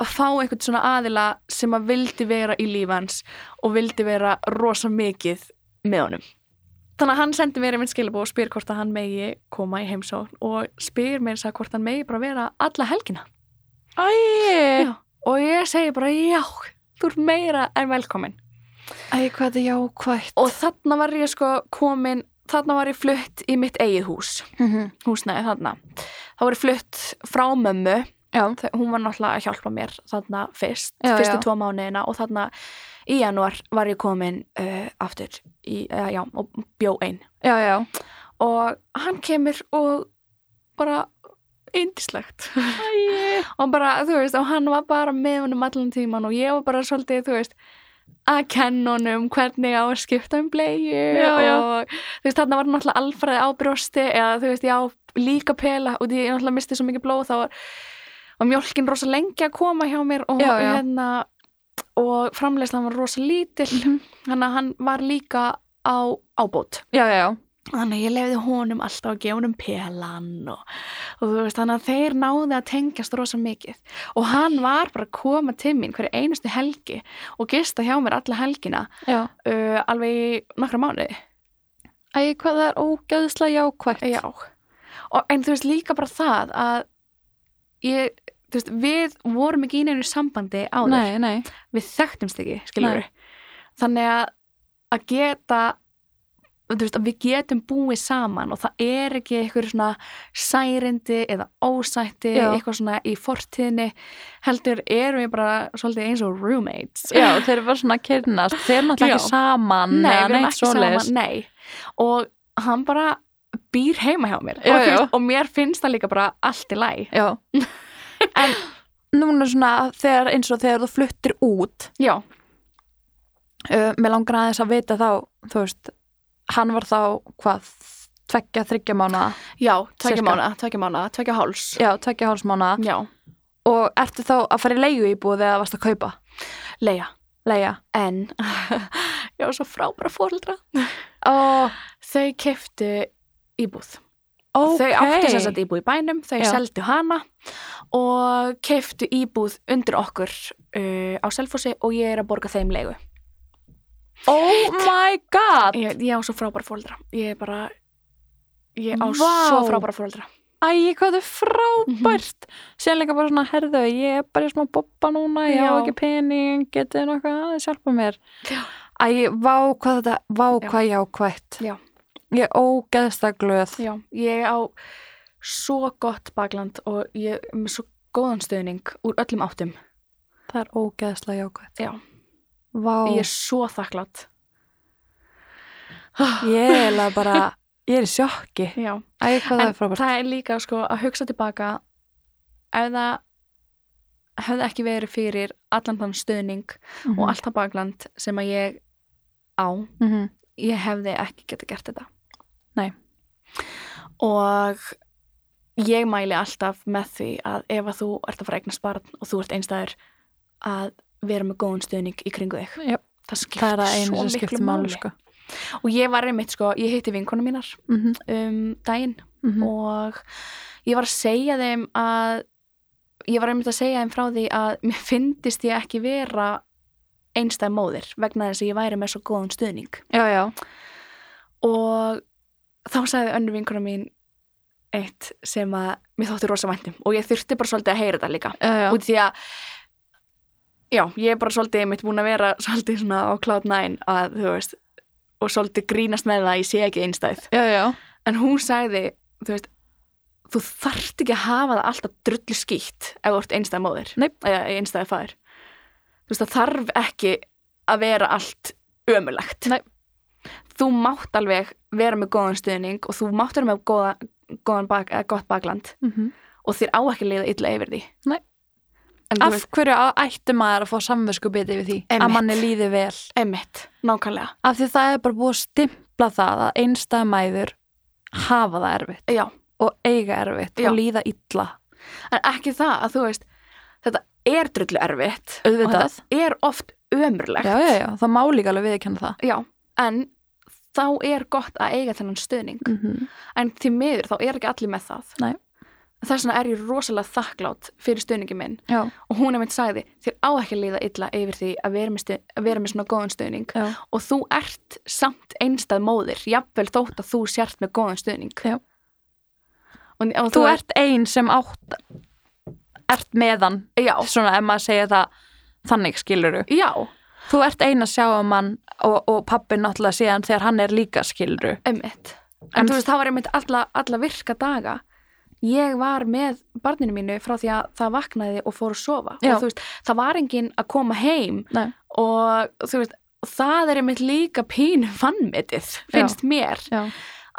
B: fá einhvern svona aðila sem að vildi vera í lífi hans og vildi vera rosa mikið með honum. Þannig að hann sendi mér einhvern skilabó og spyr hvort að hann megi koma í heimsókn og spyr mér þess að hvort hann megi bara vera alla helgina.
A: Æ,
B: Já. Og ég segi bara já, þú ert meira en velkomin.
A: æ, hvað þetta er jákvætt.
B: Og þarna var ég sko komin, þarna var ég flutt í mitt eigið hús,
A: Mhm.
B: húsnæði þarna. Þá var ég flutt frá mömmu
A: Já,
B: þau- hún var náttúrulega að hjálpa mér þarna fyrst,
A: Já,
B: fyrstu
A: já.
B: tvo mánuðina og þarna í janúar var ég komin uh, aftur í, uh, já, og bjó einn
A: já, já.
B: og hann kemur og bara indislegt
A: Æ,
B: og bara, þú veist, og hann var bara með honum allan tíman og ég var bara svolítið, þú veist að kenna honum hvernig á að skipta um bleiu
A: Já, já.
B: og þú veist, þarna var náttúrulega alfræði á brjósti eða þú veist, já, líka pela og því ég náttúrulega misti svo mikið blóð þá var, var mjólkin rosa lengi að koma hjá mér og,
A: Já, já.
B: hérna og framleyslan var rosa lítill
A: Mhm.
B: þannig að hann var líka á ábót
A: já, já.
B: þannig að ég lefði honum alltaf að gefa honum pelan og, og þú veist, þannig að þeir náði að tengjast rosa mikið og hann var bara að koma til mín hverju einustu helgi og gista hjá mér alla helgina
A: Já.
B: uh, alveg í nokkra mánuði
A: Æ, hvað það er ógæðslega jákvætt.
B: Já. Og, en þú veist líka bara það að ég, þú veist, við vorum ekki í neinu sambandi á þér.
A: Nei, nei.
B: Við þekktumst ekki, skilur við. Þannig að, að geta, þú veist, að við getum búið saman og það er ekki eitthvað svona særindi eða ósætti,
A: Já.
B: eitthvað svona í fortíðinni. Heldur erum við bara svolítið eins og roommates.
A: Já, þeir eru bara svona að kynast. Þeir eru náttúrulega ekki
B: Já.
A: saman.
B: Nei,
A: eða
B: við erum
A: neitt
B: ekki
A: svoleiðis.
B: saman, nei. Og hann bara býr heima hjá mér.
A: Já,
B: og, þú
A: já.
B: veist, og mér finnst það líka bara allt í læg.
A: Já. En núna svona þegar, eins og þegar þú fluttir út,
B: Já,
A: uh, mér langar aðeins að vita þá, þú veist, hann var þá, hvað, tveggja, þryggja mánuða?
B: já, tvekja
A: Cirka.
B: mánuða, tvekja mánuða, tvekja háls.
A: Já, tveggja hálsmánuða.
B: Já,
A: Og ertu þá að fara í leigu íbúð eða varst að kaupa?
B: leiða.
A: Leia.
B: En, ég var svo frábæra fóreldra.
A: Ó,
B: Þau keftu íbúð.
A: ok.
B: Þau áttu sér satt íbúð í bænum, þau
A: Já.
B: seldu hana og keftu íbúð undir okkur uh, á Selfossi og ég er að borga þeim leigu.
A: Oh my god.
B: Ég, ég á svo frábæra fóreldra. Ég er bara, ég á
A: Vá.
B: svo frábæra fóreldra.
A: Æ, hvað þau frábært.
B: Mhm.
A: Mm Sér líka bara svona, herðu, ég er bara í smá boppa núna, ég á
B: Já.
A: ekki pening, getið þið nokkuð aðeins hjálpa mér. Æ, vá hvað þetta, vá
B: Já.
A: hvað jákvætt.
B: Já.
A: Ég er ógeðsta glöð.
B: Já, ég á svo gott bakland og ég er með svo góðan stöðning úr öllum áttum.
A: Það er ógeðslega jákvætt.
B: Já.
A: Vá, ég
B: Ég er svo þakklátt.
A: er eiginlega bara, ég er í sjokki.
B: Já,
A: Æ, hvað það
B: en
A: er frábært.
B: það er líka sko að hugsa tilbaka ef það hefði ekki verið fyrir allan þann stöðning og allt það Mhm. bakland sem að ég á,
A: Mm
B: Mhm. ég hefði ekki geta gert þetta.
A: Nei.
B: Og ég mæli alltaf með því að ef að þú ert að fara að eignast barn og þú ert einstæður að vera með góðan stuðning í kringu þig.
A: Jöp.
B: Það
A: Það er
B: skiptir
A: að einu
B: svo
A: sem
B: miklu
A: skiptir máli,
B: máli.
A: sko.
B: Og ég var einmitt sko, ég hitti vinkonu mínar
A: Mm -hmm.
B: um daginn
A: Mm -hmm.
B: og ég var að segja þeim að ég var einmitt að segja þeim frá því að mér fyndist ég ekki vera einstæð móðir vegna þess að ég væri með svo góðan stuðning
A: Já, já.
B: og þá sagði önnur vinkona mín um eitt sem að mér þótti rosa væntum og ég þurfti bara svolítið að heyra þetta líka
A: Já, já.
B: út í því að já, ég er bara svolítið mitt búin að vera svolítið svona á Cloud9 að þú veist og svolítið grínast með það að ég sé ekki einstæð
A: já, já,
B: en hún sagði, þú veist þú þarft ekki að hafa það alltaf drullu skýtt ef þú ert einstæð móðir
A: Nei.
B: eða einstæð fær þú veist það þarf ekki að vera allt ömulegt
A: Nei.
B: þú mátt alveg vera með góðan stuðning og þú mátt vera með góða, góðan bak, eða gott bakland
A: mhm.
B: og þér á ekki að leiða illa yfir því
A: Nei.
B: en þú
A: af
B: veist,
A: hverju á- ætti maður að fá samvösku biti við því
B: Einmitt.
A: að manni líði vel
B: einmitt, nákvæmlega
A: af því það er bara búið að stimpla það að einstæða mæður hafa það erfitt
B: já,
A: og eiga erfitt
B: Já.
A: og líða illa
B: en ekki það að þú veist þetta er drullu erfitt og
A: auðvitað,
B: þetta er oft ömurlegt
A: já, já, já, það má líka alveg viðkjanna það
B: Já, en þá er gott að eiga þennan stuðning
A: mm -hmm.
B: en því miður þá er ekki allir með það
A: Nei.
B: þess vegna er ég rosalega þakklátt fyrir stuðningi minn
A: já,
B: og hún er mitt sagði þér á ekki að líða illa yfir því að vera með, stuð, að vera með svona góðan stuðning
A: já,
B: og þú ert samt einstað móðir jafnvel þótt að þú sért með góðan stuðning
A: Já.
B: og, og
A: þú ert ein sem átt ert meðan
B: já,
A: svona ef maður segja það þannig skiluru
B: já,
A: þú ert ein að sjá um hann og, og pappi náttúrulega síðan þegar hann er líka skiluru
B: einmitt en,
A: En-
B: þú veist, það var einmitt alla, alla virka daga ég var með barninu mínu frá því að það vaknaði og fór að sofa
A: Já.
B: og þú veist, það var enginn að koma heim
A: Nei.
B: og þú veist það er einmitt líka pínu vannmetið finnst mér
A: Já.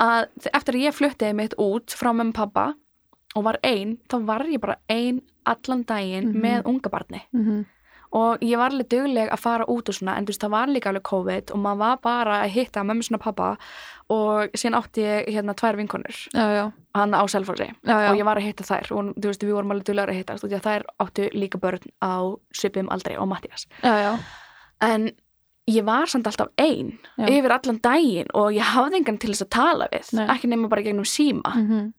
B: að eftir að ég fluttiði mitt út frá mömmu pappa og var ein þá var ég bara ein allan daginn
A: Mhm.
B: með unga barni
A: mm -hmm.
B: og ég var alveg dugleg að fara út og svona en þú veist það var líka alveg COVID og maður var bara að hitta mömmu svona pappa og síðan átti ég hérna tvær vinkonur
A: já, já,
B: hann á Selfossi
A: já, já.
B: og ég var að hitta þær og þú veist við vorum alveg duglegar að hittast og því að þær áttu líka börn á svipum aldrei og Mattias
A: já, já.
B: en ég var samt alltaf ein
A: Já.
B: yfir allan daginn og ég hafði engan til þess að tala við
A: Nei.
B: ekki nema bara gegnum síma
A: Mm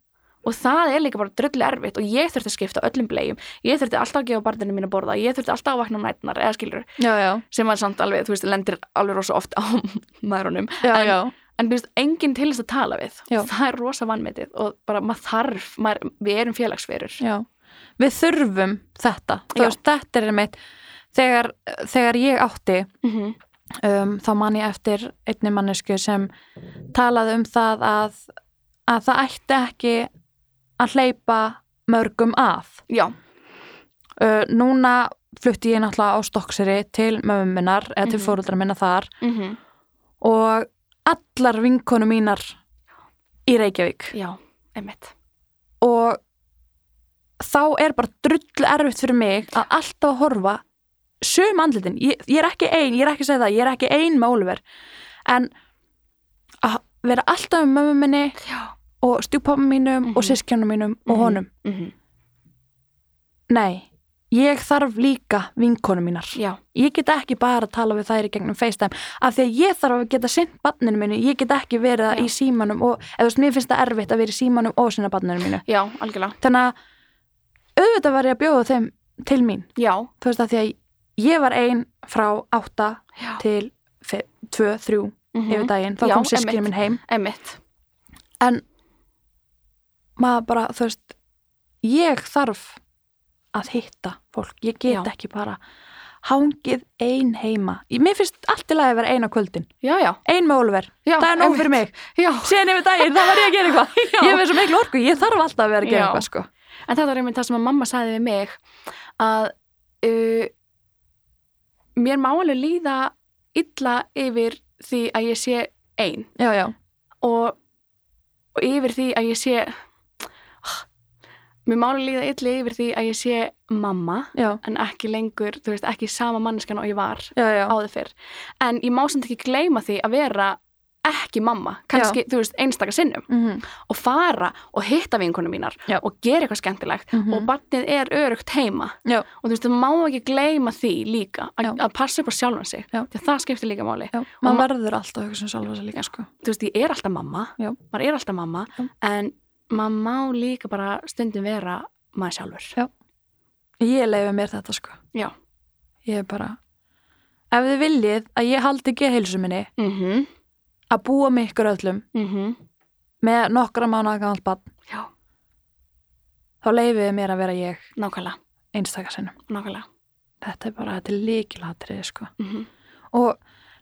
B: og það er líka bara drullu erfitt og ég þurfti að skipta öllum blegjum ég þurfti alltaf að gefa barninu mín að borða ég þurfti alltaf að vakna um nætnar eða skilur
A: já, já,
B: sem var samt alveg, þú veist, lendir alveg rosa oft á maðurunum
A: já,
B: En-
A: já.
B: en þú veist, enginn til þess að tala við
A: Já.
B: það er rosa vannmetið og bara maður þarf maður, við erum félagsverur
A: já. við þurfum þetta þú
B: Já.
A: veist, þetta er einmitt þegar, þegar ég átti
B: mm -hmm.
A: um, þá man ég eftir einni mannesku sem talaði um það að, að það ætti ekki að hleypa mörgum að.
B: já,
A: Uh, núna flutti ég náttúrulega á stokkseri til mömmu minnar eða til
B: Mhm.
A: fóruldra minna þar
B: mm
A: og allar vinkonu mínar í Reykjavík
B: já, einmitt
A: og þá er bara drull erfitt fyrir mig að alltaf að horfa söm andlitin, ég, ég er ekki ein ég er ekki að segja það, ég er ekki ein með Oliver en að vera alltaf með mömmu minni
B: já,
A: og stjúpappa mínum
B: Mhm.
A: og sískjánum mínum og
B: Mhm.
A: honum,
B: mm
A: nei ég þarf líka vinkonu mínar
B: já,
A: ég get ekki bara að tala við þær í gegnum FaceTime af því að ég þarf að geta sint barninu mínu, ég get ekki verið það
B: Já.
A: í símanum og eða þú veist, mér finnst það erfitt að vera í símanum og sinna barninu mínu
B: já, algjörlega
A: þannig að auðvitað var ég að bjóða þeim til mín
B: já,
A: þú veist að því að ég var ein frá 8
B: já,
A: til 2, 3
B: mm
A: yfir daginn, þá
B: Já,
A: kom sískinu
B: einmitt.
A: minn heim
B: einmitt
A: maður bara, þú veist ég þarf að hitta fólk, ég get
B: Já.
A: ekki bara hangið ein heima Ég- mér finnst allt í lagi að vera ein á kvöldin
B: já, já,
A: ein með Oliver,
B: já
A: það er nóg
B: einmitt.
A: fyrir mig
B: já,
A: síðan yfir daginn, þá var ég að gera eitthvað
B: já.
A: ég er með svo miklu orku, ég þarf alltaf að vera að gera
B: Já.
A: eitthvað sko.
B: En þetta var einmitt það sem að mamma sagði við mig að uh, mér má alveg líða illa yfir því að ég sé ein
A: já, já,
B: og, og yfir því að ég sé ah, mér má alveg líða illa yfir því að ég sé mamma
A: já,
B: en ekki lengur, þú veist, ekki sama manneskan og ég var
A: já, já.
B: áður fyrr en ég má samt ekki gleyma því að vera ekki mamma, kannski, þú veist, einstaka sinnum
A: Mm
B: og fara og hitta vinkunum mínar
A: Já.
B: og gera eitthvað skemmtilegt
A: Mhm.
B: og barnið er örugt heima
A: Já.
B: og þú veist, þú má ekki gleyma því líka
A: Já.
B: að að passa upp á sjálfan sig
A: Já.
B: því að það skiptir líka máli
A: Já,
B: Og
A: maður
B: ma-
A: verður alltaf að hugsa um sjálfa sig líka, sko.
B: þú veist, ég er alltaf mamma,
A: Já.
B: maður er alltaf mamma
A: Já.
B: en maður má líka bara stundum vera maður sjálfur
A: Já. Ég leiði mér þetta, sko.
B: Já.
A: Ég er bara, ef þið viljið að ég haldi ekki heilsu minni
B: mhm,
A: að búa með ykkur öllum
B: mhm,
A: með nokkra mánuða gamalt bann,
B: já,
A: þá leiðið mér að vera ég
B: nákvæmlega
A: einstaka sinnum.
B: nákvæmlega
A: þetta er bara, þetta er líkilatrið sko.
B: Mhm.
A: og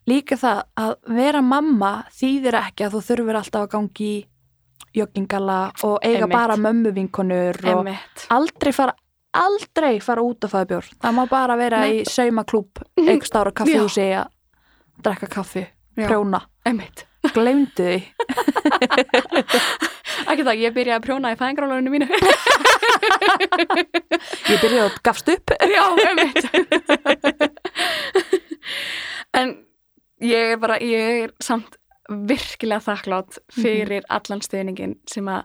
A: líka það að vera mamma þýðir ekki að þú þurfir alltaf að gangi í joggingala og eiga
B: Einmitt.
A: bara mömmu vinkonur og
B: Emmett.
A: aldrei fara aldrei fara út að fæða bjór það má bara vera
B: Nei.
A: í saumaklúb einhver stára kaffihúsi að drekka kaffi,
B: Já.
A: prjóna
B: Emmett.
A: gleymdu því,
B: Ekki það, ég byrjaði að prjóna í fæðingrálunum mínu.
A: ég byrjaði að gafst upp
B: Já, einmitt En ég er bara, ég er samt virkilega þakklátt
A: Mhm.
B: fyrir allan stuðningin sem að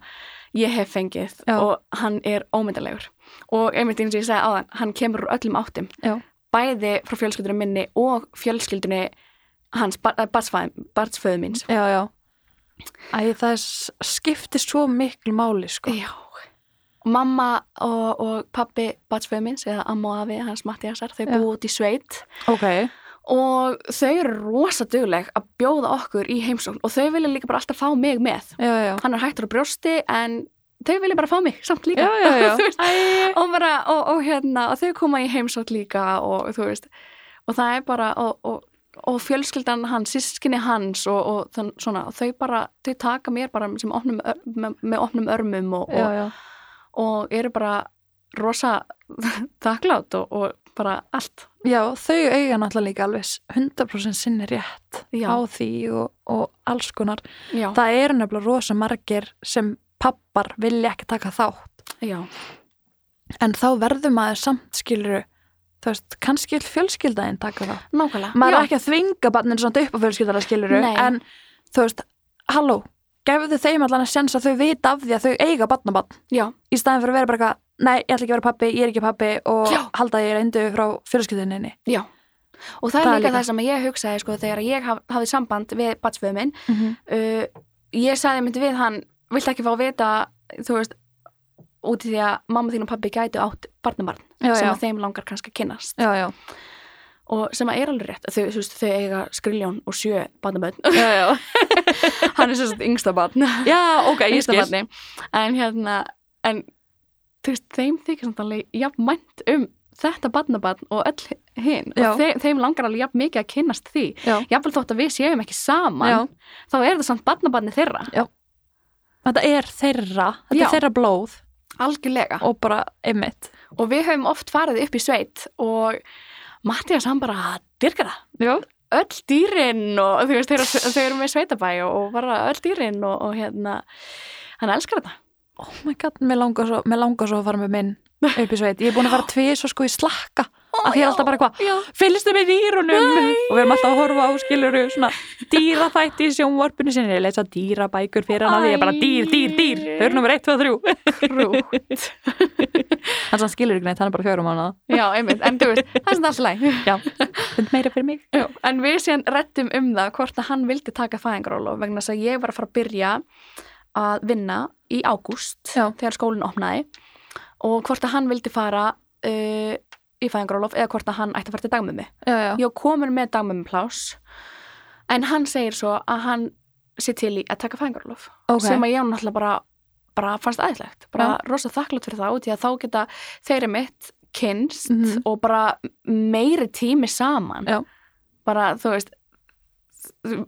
B: ég hef fengið
A: Já.
B: og hann er ómyndalegur og einmitt eins og ég segi áðan, hann kemur úr öllum áttum
A: Já.
B: bæði frá fjölskyldunum minni og fjölskyldunni hans, barnsföðu míns
A: já, já Æ, það s- skiptir svo miklu máli sko.
B: Já Mamma og, og pappi barnsföðu míns eða amma og afi hans Mattiasar, þau
A: Já.
B: búið út í sveit
A: ok,
B: og þau eru rosa dugleg að bjóða okkur í heimsókn og þau vilja líka bara alltaf fá mig með
A: já, já
B: hann er hættur á brjósti en þau vilja bara fá mig samt líka
A: já, já, já.
B: Þú veist,
A: Æ,
B: og, bara, og, og, hérna, og þau koma í heimsókn líka og þú veist og það er bara og, og, og fjölskyldan hans, sískinni hans og, og þann, svona, og þau bara þau taka mér bara sem opnum, ör- með, með opnum örmum og,
A: já, já.
B: og, og eru bara rosa þakklátt og, og bara allt
A: já, þau eiga náttúrulega líka alveg s- 100% sinni rétt
B: Já.
A: á því og, og alls konar
B: já,
A: það eru nefnilega rosa margir sem pappar vilja ekki taka þátt
B: já,
A: en þá verður maður samt skiluru þú veist, kannski vil fjölskyldaðin taka þátt
B: nákvæmlega
A: maður
B: já.
A: er ekki að þvinga barninu svona upp á fjölskyldaðin skiluru
B: Nei.
A: en þú veist, halló gefðu þeim allan að sjans að þau vita af því að þau eiga barnabarn
B: Já,
A: í staðin fyrir að vera bara eitthvað nei, ég ætla ekki að vera pappi, ég er ekki pappi og
B: Já.
A: halda að ég reyndu frá fjölskyldaðinni
B: já. Og það,
A: Það er
B: er líka,
A: líka-
B: það sem ég hugsaði sko þegar ég haf, hafði samband við batsföðu minn.
A: mm -hmm.
B: Uh, ég sagði myndi við hann, vilt ekki fá að vita, þú veist, út í því að mamma þín og pabbi gætu átt barnabarn
A: já,
B: sem
A: já.
B: að þeim langar kannski að kynnast
A: já, já,
B: og sem að er alveg rétt, þau, þú veist, þau eiga skriljón og sjö barnabönn,
A: já, já.
B: hann er sem sagt yngsta barn
A: já ok, ég
B: yngsta
A: skil
B: barni, en hérna en þú veist, þeim þykir samt alveg jafn mænt um þetta barnabarn og öll hinn
A: Já.
B: og þeim, þeim langar alveg jafn mikið að kynnast því
A: Já.
B: jafnvel þótt að við séum ekki saman
A: Já.
B: þá er það samt barnabarni þeirra
A: þetta er þeirra, þetta
B: Já.
A: er þeirra blóð
B: algjörlega
A: og bara einmitt
B: og við höfum oft farið upp í sveit og Mattias hann bara dyrka það
A: já,
B: öll dýrin og þú veist, þeir, þeir eru með sveitabæ og, og bara öll dýrin og, og hérna hann elskar þetta
A: oh my god, mér langar svo, mér langar svo að fara með minn upp í sveit, ég er búin að fara tvið svo sko í slakka,
B: Ó,
A: að því
B: já.
A: er alltaf bara hvað
B: Já.
A: fylgstu með dýrunum og við erum alltaf að horfa á skiluru svona dýraþætti í sjónvarpinu sinni, ég lesa dýrabækur fyrir hann að því ég er bara dýr, dýr, dýr þau eru nummer 1, 2, 3,
B: krút
A: þannig að skilur ekki neitt, hann er bara fjörum mánuða,
B: já, einmitt, en þú veist, það er svona alltaf læg
A: já, finnst meira fyrir mig
B: Já, en við síðan rettum um það hvort að hann vildi taka fæðingarólof vegna þess að ég var að fara að byrja að vinna í ágúst
A: Já.
B: þegar skólinn opnaði og hvort að hann vildi fara uh, í fæðingarólof eða hvort að hann ætti að fara til dagmömmu.
A: já, já,
B: Ég var komin með dagmömmu pláss en hann segir svo að hann sé til í að taka fæðingarólof
A: ok
B: sem að ég náttúrulega bara, bara fannst aðeinslegt, bara rosa þakklátt fyrir þá því að þá geta þeirri mitt kynst
A: Mhm.
B: og bara meiri tími saman
A: Já.
B: bara þú veist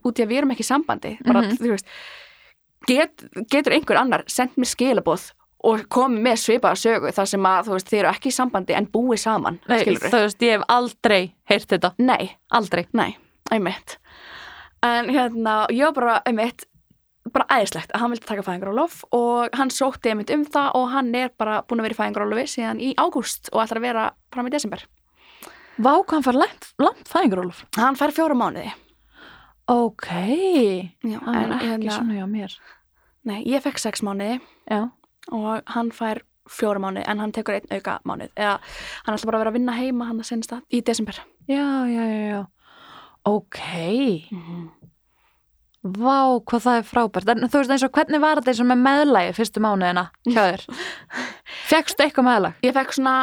B: út í að við erum ekki í sambandi bara,
A: Mhm.
B: þú veist get, getur einhver annar sendt mér skilaboð og komið með svipaða sögu þar sem að þú veist þið eru ekki í sambandi en búið saman
A: Nei,
B: skilurðu?
A: þú veist, ég hef aldrei heyrt þetta,
B: Nei,
A: aldrei
B: Nei, einmitt. En hérna, ég var bara, einmitt, bara æðislegt að hann vildi taka fæðingarólof og hann sótti einmitt um það og hann er bara búin að vera í fæðingarólofi síðan í ágúst og ætlar að vera fram í desember.
A: Vá, hvað hann fara langt, langt fæðingur, Ólf
B: Hann fær fjóra mánuði.
A: Ok,
B: Já,
A: hann er ekki
B: hérna-
A: svona hjá mér
B: Nei, ég fekk sex mánuði
A: Já,
B: og hann fær fjóra mánuði en hann tekur einn auka mánuð. Eða hann ætlar bara að vera að vinna heima hann að senast það í desember.
A: já, já, já, já. Ok,
B: Mm
A: Mhm.
B: -hmm.
A: vá, hvað það er frábært. En þú veist eins og hvernig var þetta eins og með meðlægi fyrstu mánuðina hjá þér? Fjekkstu eitthvað meðlæg?
B: Ég fekk svona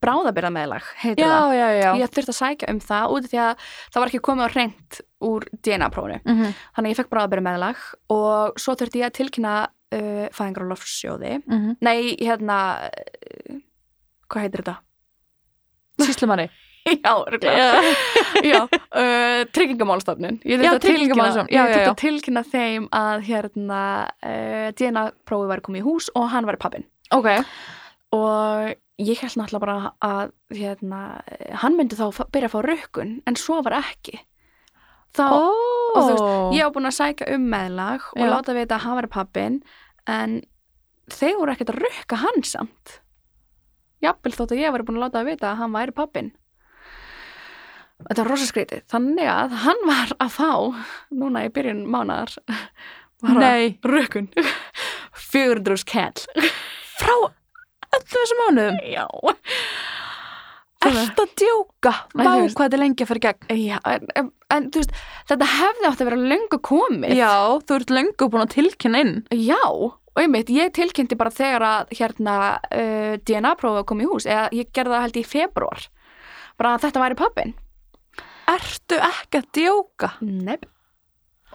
B: bráðabirða meðlag, heitir
A: Já,
B: það.
A: já, já.
B: ég þurfti að sækja um það út af því að það var ekki komið á reynd úr DNA-prófunu.
A: Mm -hmm.
B: Þannig að ég fekk bráðabyrðu meðlag og svo þurfti ég að tilkynna uh, fæðingarólofssjóði.
A: Mm -hmm.
B: Nei, hérna, uh, hvað heitir þetta?
A: Síslumanni.
B: já, örugglega. já, uh, tryggingamálstofnun
A: Já,
B: ég þurfti að tilkynna,
A: Tryggingamálastofnun, já,
B: ég
A: já,
B: þurfti
A: já.
B: að tilkynna þeim að hérna uh, DNA prófið væri komið í hús og hann væri pappin
A: Ok,
B: og ég held náttúrulega bara að hérna, eh, hann myndi þá fa- byrja að fá rökkun en svo var ekki þá,
A: og þú veist,
B: ég
A: já,
B: var búin að sækja um meðlag og
A: Já.
B: láta vita að hann væri pappin en þeir voru ekkert að rökka hann samt jafnvel þótt að ég væri búin að láta að vita að hann væri pappin þetta var rosa skrítið þannig að hann var að fá núna í byrjun mánadar var að
A: nei,
B: rökkun 400 skell
A: frá öllum þessum mánuðum,
B: já
A: ert að djóka,
B: Nei,
A: vá
B: þú veist-
A: hvað þetta er lengi að fara í gegn.
B: Já, en, en, en þú veist, þetta hefði átt að vera löngu komið.
A: Já, þú ert löngu búin að tilkynna inn.
B: Já, og einmitt, ég tilkynnti bara þegar að hérna uh, DNA-prófið kom í hús, eða ég gerði það held í februar, bara að þetta væri pappin.
A: Ertu ekki að djóka?
B: Nepp.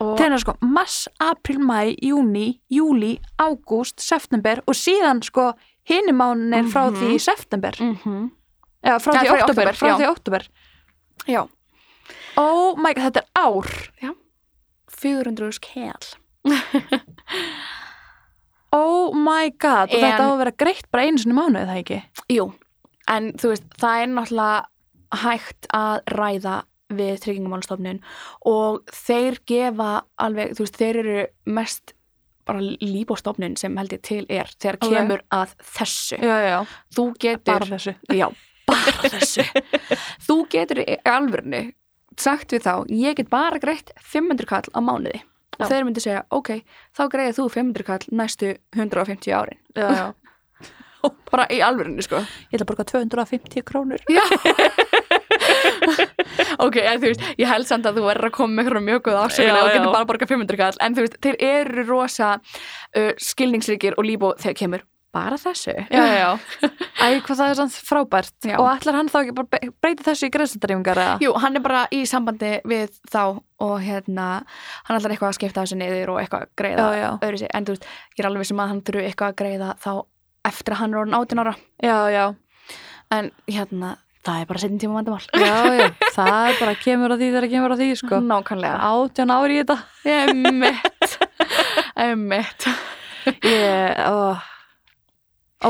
B: Og,
A: Þegar sko, mars, april, mæ, júni, júli, ágúst, september og síðan sko hinumánir mm frá
B: Mhm.
A: því í september.
B: mm
A: Eða frá
B: Já,
A: því
B: frá í
A: oktober,
B: október,
A: frá
B: já.
A: því oktober.
B: Já,
A: Oh my god, þetta er ár.
B: 400 skell.
A: Oh my god, og
B: En-
A: þetta á að vera greitt bara einu sinni í mánuði, það ekki?
B: Jú, en þú veist, það er náttúrulega hægt að ræða við tryggingamálstofnun og þeir gefa alveg, þú veist, þeir eru mest bara líbóstofnun sem held ég til er þegar
A: Ok.
B: kemur að þessu.
A: Já, já,
B: Þú
A: bara
B: getur,
A: þessu.
B: já, bara þessu. þú getur í alvörinu sagt við þá, ég get bara greitt 500 kall á mánuði.
A: Já.
B: Og þeir myndi segja, ok, þá greiði þú 500 kall næstu 150 árin.
A: Já, já.
B: Bara í alvörinu, sko.
A: Ég ætla að borga 250 krónur.
B: Já Ok, en þú veist, ég held samt að þú verður að koma með einhverjum mjög góð
A: Já,
B: afsökunar og
A: já.
B: getur bara að borga 500 kall en þú veist, þeir eru rosa uh, skilningsríkir og líbó þegar kemur bara þessu
A: Já, já, já. Æ, hvað það er sann frábært.
B: Já.
A: Og ætlar hann þá ekki bara be- breyti þessu í greiðsendariðingar eða?
B: Jú, hann er bara í sambandi við þá og hérna, hann ætlar eitthvað að skipta þessu niður og eitthvað að greiða
A: Já, já.
B: öðru sig, en þú veist, ég er alveg sem að hann þurfi eitthvað að greiða þá eftir að hann er orðin 18 ára
A: Já, já.
B: en hérna, það er bara setjum tíma vandamál
A: Já, já, það er bara kemur að því þegar kemur að því, sko.
B: Mm. Nákvæmlega
A: Átján ári í þetta.
B: Emmett Emmett
A: Ég, ó,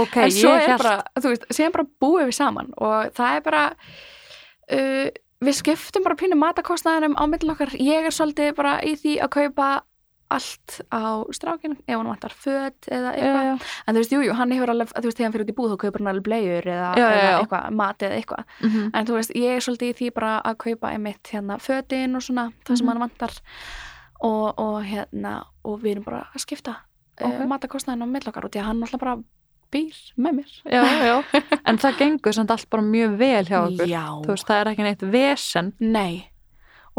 A: ok,
B: En svo
A: ég
B: er
A: held.
B: bara, þú veist, síðan bara búið við saman og það er bara uh, við skiptum bara pínu matakostnaðinum á millin okkar, ég er svolítið bara í því að kaupa allt á strákinu, ef hann vantar föt eða
A: já,
B: eitthvað,
A: já,
B: en þú veist, jújú, jú, hann hefur alveg, þú veist, þegar hann fyrir út í búð þá kaupir hann alveg bleiur eða,
A: Já, já,
B: eða
A: já.
B: eitthvað, mat eða eitthvað
A: mhm,
B: en þú veist, ég er svolítið í því bara að kaupa einmitt hérna fötin og svona það sem
A: Mhm.
B: hann vantar og, og hérna, og við erum bara að skipta okay.
A: Ok.
B: uh, matakostnaðin á millokkar og því að hann alltaf bara býr með mér
A: já, já. En það gengur samt allt bara mjög vel hjá okkur.
B: Já,
A: Þú veist, það er ekki neitt vesen.
B: nei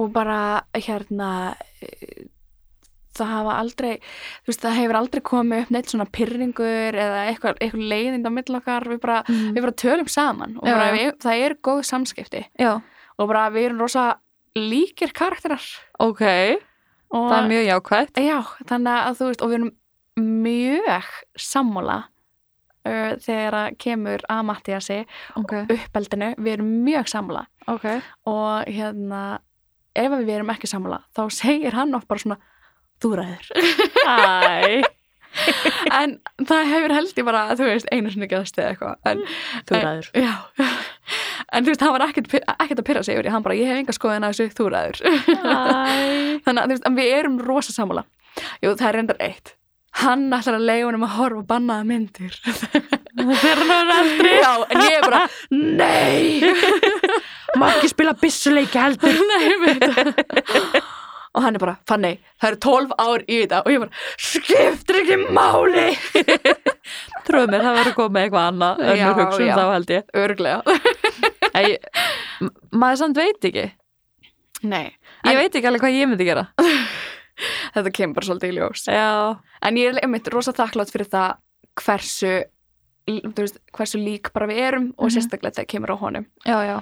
B: og bara hérna eh, það hafa aldrei þú veist, það hefur aldrei komið upp neitt svona pyrringur eða eitthvað, eitthvað leiðind á millokkar, við bara, við bara tölum saman og
A: Já.
B: bara, við, það eru góð samskipti
A: Já,
B: og bara við erum rosa líkir karakterar
A: ok,
B: og,
A: það er mjög jákvægt.
B: Já, þannig að þú veist, og við erum mjög sammála uh, þegar að kemur að Mattiasi
A: Ok,
B: uppeldinu, við erum mjög sammála
A: ok.
B: og hérna ef við erum ekki sammála, þá segir hann oft bara svona, þú ræður
A: Æ,
B: en það hefur held ég bara, þú veist, einu sinni geðast eða eitthvað, en
A: þú ræður.
B: já en þú veist, hann var ekkert, ekkert að pyrra sig yfir því, hann bara, ég hef enga skoðin að þessu, þú ræður
A: Æ,
B: þannig að þú veist, en við erum rosa sammála jú, það er reyndar eitt hann ætlar að leiða honum að horfa á bannaða myndir
A: það er hann eldri.
B: já, en ég er bara nei,
A: Má ekki spila bissuleiki heldur.
B: nei veit það. og hann er bara, fann það eru 12 ár í þetta og ég bara, skiptir ekki máli
A: Trúið mér, það verður komið eitthvað annað,
B: Já,
A: önnur hugsun
B: já.
A: þá held ég.
B: örglega,
A: Æ, m- maður samt veit ekki.
B: nei
A: Ég
B: En-
A: veit ekki alveg hvað ég myndi gera.
B: þetta kemur bara svolítið í ljós
A: Já,
B: en ég er einmitt rosa þakklátt fyrir það hversu þú veist, hversu lík bara við erum og
A: Mhm.
B: sérstaklega þetta kemur á honum
A: já, já.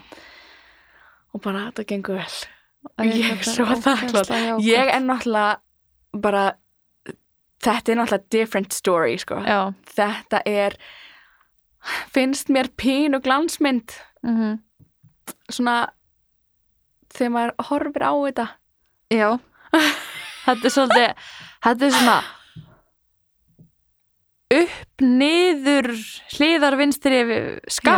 B: og bara, þetta gengur vel
A: Æ,
B: Ég er
A: þetta
B: svo þakklát.
A: ógeðslega jákvætt.
B: ég er náttúrulega bara þetta er náttúrulega different story sko.
A: Já.
B: þetta er finnst mér pín og glansmynd
A: Mm
B: svona þegar maður horfir á þetta
A: Já Þetta er svolítið Þetta er svona upp, niður hliðar vinstri yfir ská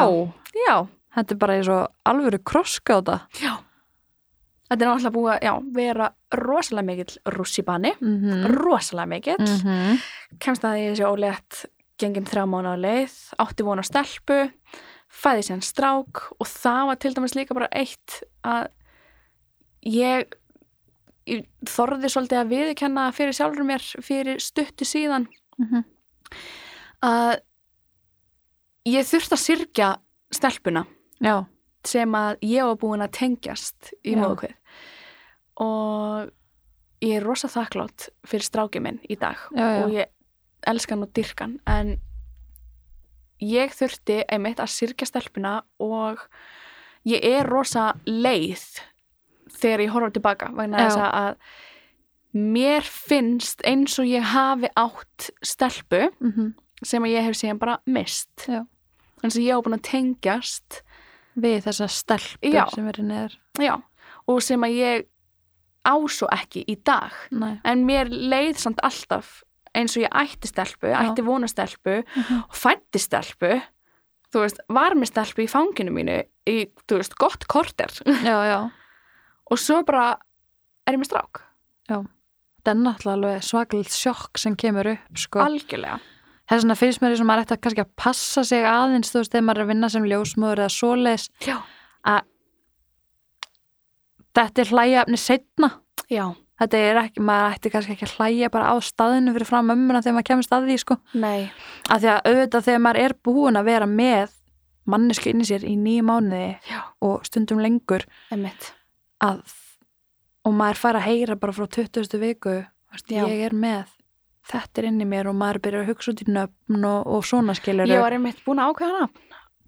B: já,
A: Þetta er bara eins og alvöru krosskáta
B: þetta er náttúrulega búið að já, vera rosalega mikill rússibani
A: mm
B: rosalega mikill
A: Mhm.
B: kemst að því að þessi ólétt gengin þrjá mánu á leið, átti von á stelpu fæði sér en strák og það var til dæmis líka bara eitt að ég, ég þorði svolítið að viðkenna fyrir sjálfur mér fyrir stuttu síðan
A: Mhm.
B: að ég þurfti að syrgja stelpuna
A: Já,
B: sem að ég var búin að tengjast í
A: Já.
B: móðukvið og ég er rosa þakklátt fyrir strákið minn í dag
A: Já, já.
B: og ég elska hann og dyrka hann en ég þurfti einmitt að syrkja stelpuna og ég er rosa leið þegar ég horfa tilbaka vegna
A: Já.
B: þess að mér finnst eins og ég hafi átt stelpu
A: mm -hmm.
B: sem að ég hef síðan bara mist
A: Já.
B: þannig að ég hef búin að tengjast
A: við þessa stelpur
B: Já.
A: sem eru neður
B: Já, og sem að ég á svo ekki í dag.
A: Nei.
B: En mér leið samt alltaf eins og ég ætti stelpu, ætti vona stelpu
A: Mhm.
B: og fætti stelpu, þú veist, var með stelpu í fanginu mínu í, þú veist, gott korter
A: Já, já,
B: og svo bara er ég með strák,
A: þetta er náttúrulega alveg svaglilt sjokk sem kemur upp sko.
B: algjörlega.
A: Þess vegna finnst mér eins og maður ætti að kannski að passa sig aðeins þú veist þegar maður er að vinna sem ljósmóður eða svoleiðis
B: Já.
A: Þetta er hlæjaefni setna
B: Já,
A: Þetta er ekki, maður ætti kannski ekki að hlæja bara á staðinu fyrir fram ömmuna þegar maður kemur staði sko.
B: nei,
A: Af því að auðvitað þegar maður er búin að vera með mannesku inn í sér í nýju mánuði
B: Já.
A: og stundum lengur
B: emmitt.
A: að og maður fær að heyra bara frá 20. viku veist,
B: Já.
A: ég er með þetta er inn í mér og maður byrjar að hugsa út í nöfn og, og svona skilur
B: Ég var einmitt búin að ákveða nafn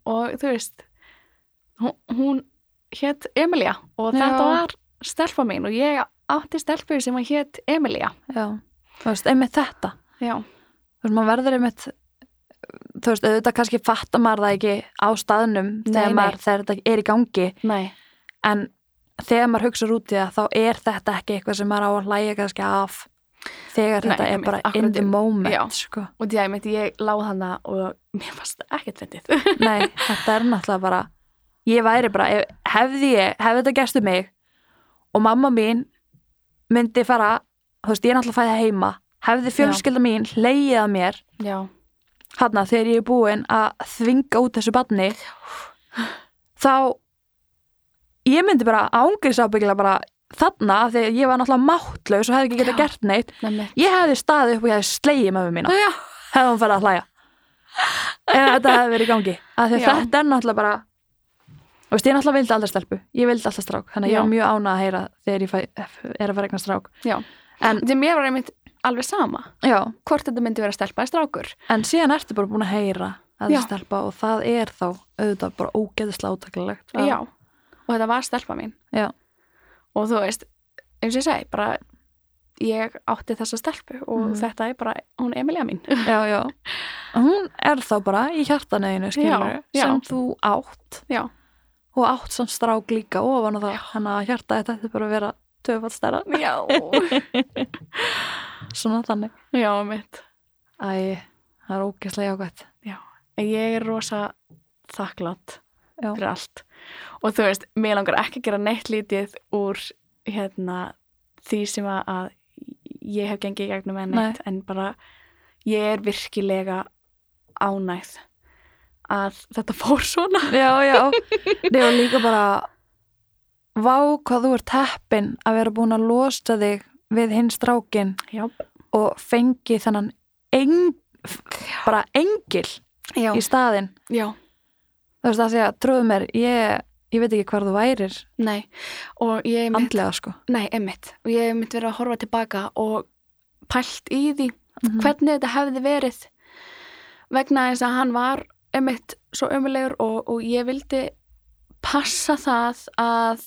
B: og þú veist, hún, hún hétt Emilia og þetta
A: Já.
B: var stelpa mín og ég átti stelpu sem að hétt Emilia.
A: Já. Þú veist, einmitt þetta
B: Já,
A: þú veist, maður verður einmitt þú veist, auðvitað kannski fattar maður það ekki á staðnum
B: Nei,
A: þegar,
B: nei.
A: maður, þegar þetta er í gangi
B: nei,
A: en þegar maður hugsa út í það þá er þetta ekki eitthvað sem maður á að hlæja kannski af þegar
B: Nei,
A: þetta er
B: einmitt,
A: bara
B: akkurat
A: in the
B: í-
A: moment
B: já.
A: sko.
B: og því að ég myndi ég láð hana og mér fannst það ekkert fyndið.
A: Nei, þetta er náttúrulega bara ég væri bara, ef, hefði ég hefði þetta gerst um mig og mamma mín myndi fara þú veist, ég er náttúrulega fæðið heima hefði fjölskylda mín hlegið að mér
B: Já,
A: hana þegar ég er búin að þvinga út þessu barni þá ég myndi bara ángriðs ábyggilega bara þarna af því að ég var náttúrulega máttlaus og hefði ekki getað
B: Já.
A: gert neitt
B: nefnir.
A: ég hefði staðið upp og ég hefði slegið mömmu mína
B: Já,
A: hefði hún farið að hlæja ef þetta hefði verið í gangi af því að
B: Já.
A: þetta er náttúrulega bara Þú veist, ég náttúrulega vildi aldrei stelpu, ég vildi alltaf strák þannig að ég
B: Já.
A: var mjög ánað að heyra þegar ég fæ, er að fara eitthvað strák
B: já.
A: En-
B: En því að mér var einmitt alveg sama
A: Já,
B: hvort þetta myndi vera stelpa eða strákur.
A: en síðan ertu bara búin að heyra að
B: Já.
A: það stelpa og það er þá auðvitað bara ógeðislega átakilegt
B: Já. og þetta var stelpa mín.
A: Já.
B: Og þú veist, eins og ég segi, bara ég átti þessa stelpu og
A: Mhm.
B: þetta er bara, hún Emilia mín.
A: já, já. Hún er þá bara í hjartaneginu skilur
B: Já, já.
A: sem þú átt
B: Já.
A: og átt sem strák líka ofan og það, hann að hjarta þetta ætti bara að vera töfald stærra,
B: Já.
A: svona þannig
B: Já, mitt.
A: Æ, það er ógeðslega jákvæmt
B: En Ég er rosa þakklátt
A: Já.
B: fyrir allt. Og þú veist, mér langar ekki að gera neitt lítið úr hérna, því sem að- að ég hef gengið í gegnum en neitt, en bara ég er virkilega ánægð að þetta fór svona.
A: Já, já, Nei, og líka bara Vá hvað þú ert heppin að vera búin að losa þig við hinn strákin
B: Já,
A: og fengi þennan eng, bara engil
B: já,
A: í staðinn
B: já,
A: Þú veist að því að trúðu mér, ég, ég veit ekki hvar þú værir
B: nei. Og ég mitt,
A: andlega sko
B: nei, einmitt. Og ég mitt verið að horfa tilbaka og pælt í því
A: Mhm.
B: hvernig þetta hefði verið vegna þess að hann var einmitt svo ömulegur og, og ég vildi passa það að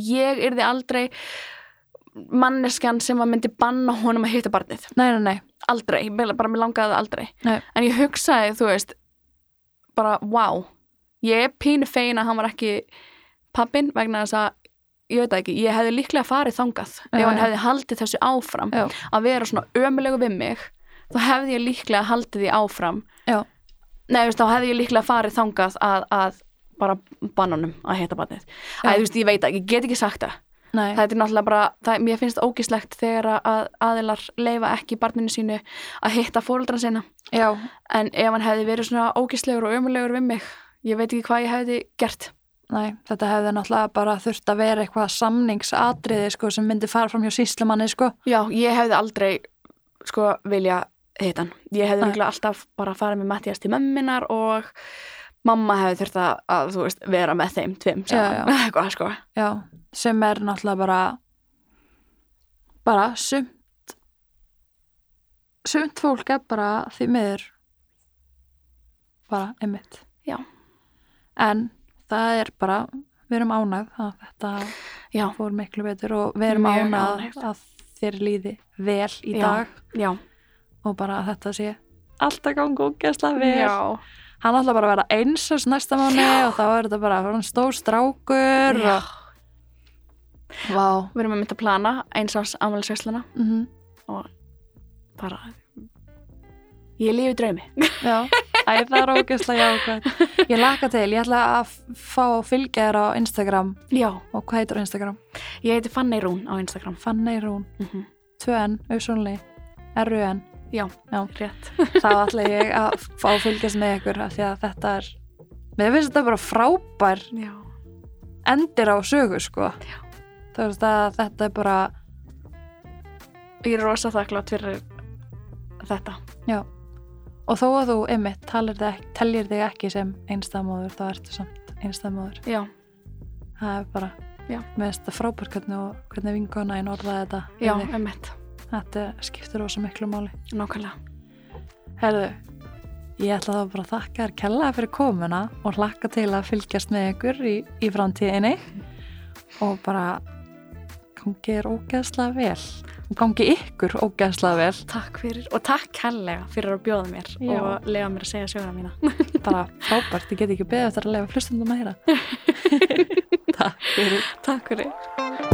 B: ég yrði aldrei manneskjan sem að myndi banna honum að hitta barnið
A: Nei, nei, nei,
B: aldrei, ég bara, bara mér langaði það aldrei
A: Nei.
B: en ég hugsaði, þú veist bara, wow ég er pínu fegin að hann var ekki pappin vegna þess að ég veit það ekki, ég hefði líklega farið þangað
A: Já,
B: ef hann
A: já.
B: hefði haldið þessu áfram
A: Já.
B: að vera svona ömulegu við mig þá hefði ég líklega haldið því áfram
A: Já.
B: nei, þú veist, þá hefði ég líklega farið þangað að, að bara bannunum að heita bannið
A: Já.
B: að þú veist, ég veit ekki, ég get ekki sagt það
A: Nei.
B: það er náttúrulega bara, það, mér finnst ógislegt þegar að aðilar leifa ekki barninu sínu að hitta fóruldran sinna
A: Já,
B: en ef hann hefði verið svona ógislegur og ömulegur við mig ég veit ekki hvað ég hefði gert
A: nei, þetta hefði náttúrulega bara þurft að vera eitthvað samningsatriði sko, sem myndi fara fram hjá síslumanni sko.
B: já, ég hefði aldrei sko vilja hitta hann ég hefði
A: Nei.
B: líklega alltaf bara farið með Mattias til mömminar og mamma hefði þurft að, að þú veist, vera með þeim tveim saman,
A: Já,
B: eitthvað sko
A: Já, sem er náttúrulega bara bara sumt sumt fólk er bara því miður bara einmitt
B: Já.
A: en það er bara við erum ánægð að þetta
B: já,
A: fór miklu betur og við erum
B: Mjög
A: ánægð
B: ánægð.
A: að þér líði vel í
B: Já.
A: dag
B: já,
A: og bara að þetta sé allt að ganga ógeðslega vel
B: já,
A: hann ætla bara að vera eins og næsta mánu og þá er þetta bara að vera hann stór strákur
B: já.
A: og vá
B: við erum að mynda að plana eins ás afmælisveisluna
A: mm
B: bara ég lifi draumi
A: Já, Æ, það er ógeðslega jákvæmt. Ég laka til, ég ætla að f- fá að fylgja þér á Instagram
B: já,
A: og hvað heitir á Instagram?
B: ég heiti Fanny Rún á Instagram
A: Fanny Rún,
B: mm
A: 2N, auðsónli, RUN.
B: já,
A: Já.
B: rétt
A: Þá ætla ég að fá að fylgjast með ykkur af því að þetta er, mér finnst þetta bara frábær
B: já,
A: endir á sögu, sko. Já. Þú veist að þetta er bara,
B: ég er rosa þakklátt fyrir þetta
A: já. Og þó að þú, einmitt, talir þig ekki, teljir þig ekki sem einstæðamóður, þá ertu samt einstæðamóður.
B: já,
A: það er bara
B: Já.
A: mér finnst þetta frábær hvernig, og- hvernig vingona einn orðaði þetta við
B: já,
A: þig.
B: emmitt
A: þetta skiptir rosa miklu máli
B: nákvæmlega
A: herðu, ég ætla þá bara að þakka þér kella fyrir komuna og hlakka til að fylgjast með ykkur í, í framtíðinni og bara gangi þér ógeðslega vel og gangi ykkur ógeðslega vel
B: Takk fyrir og takk kærlega fyrir að bjóða mér
A: Já.
B: og lega mér að segja söguna mína.
A: bara frábært, ég get ekki beðið eftir að lefa flustundum að heyra takk fyrir
B: Takk fyrir.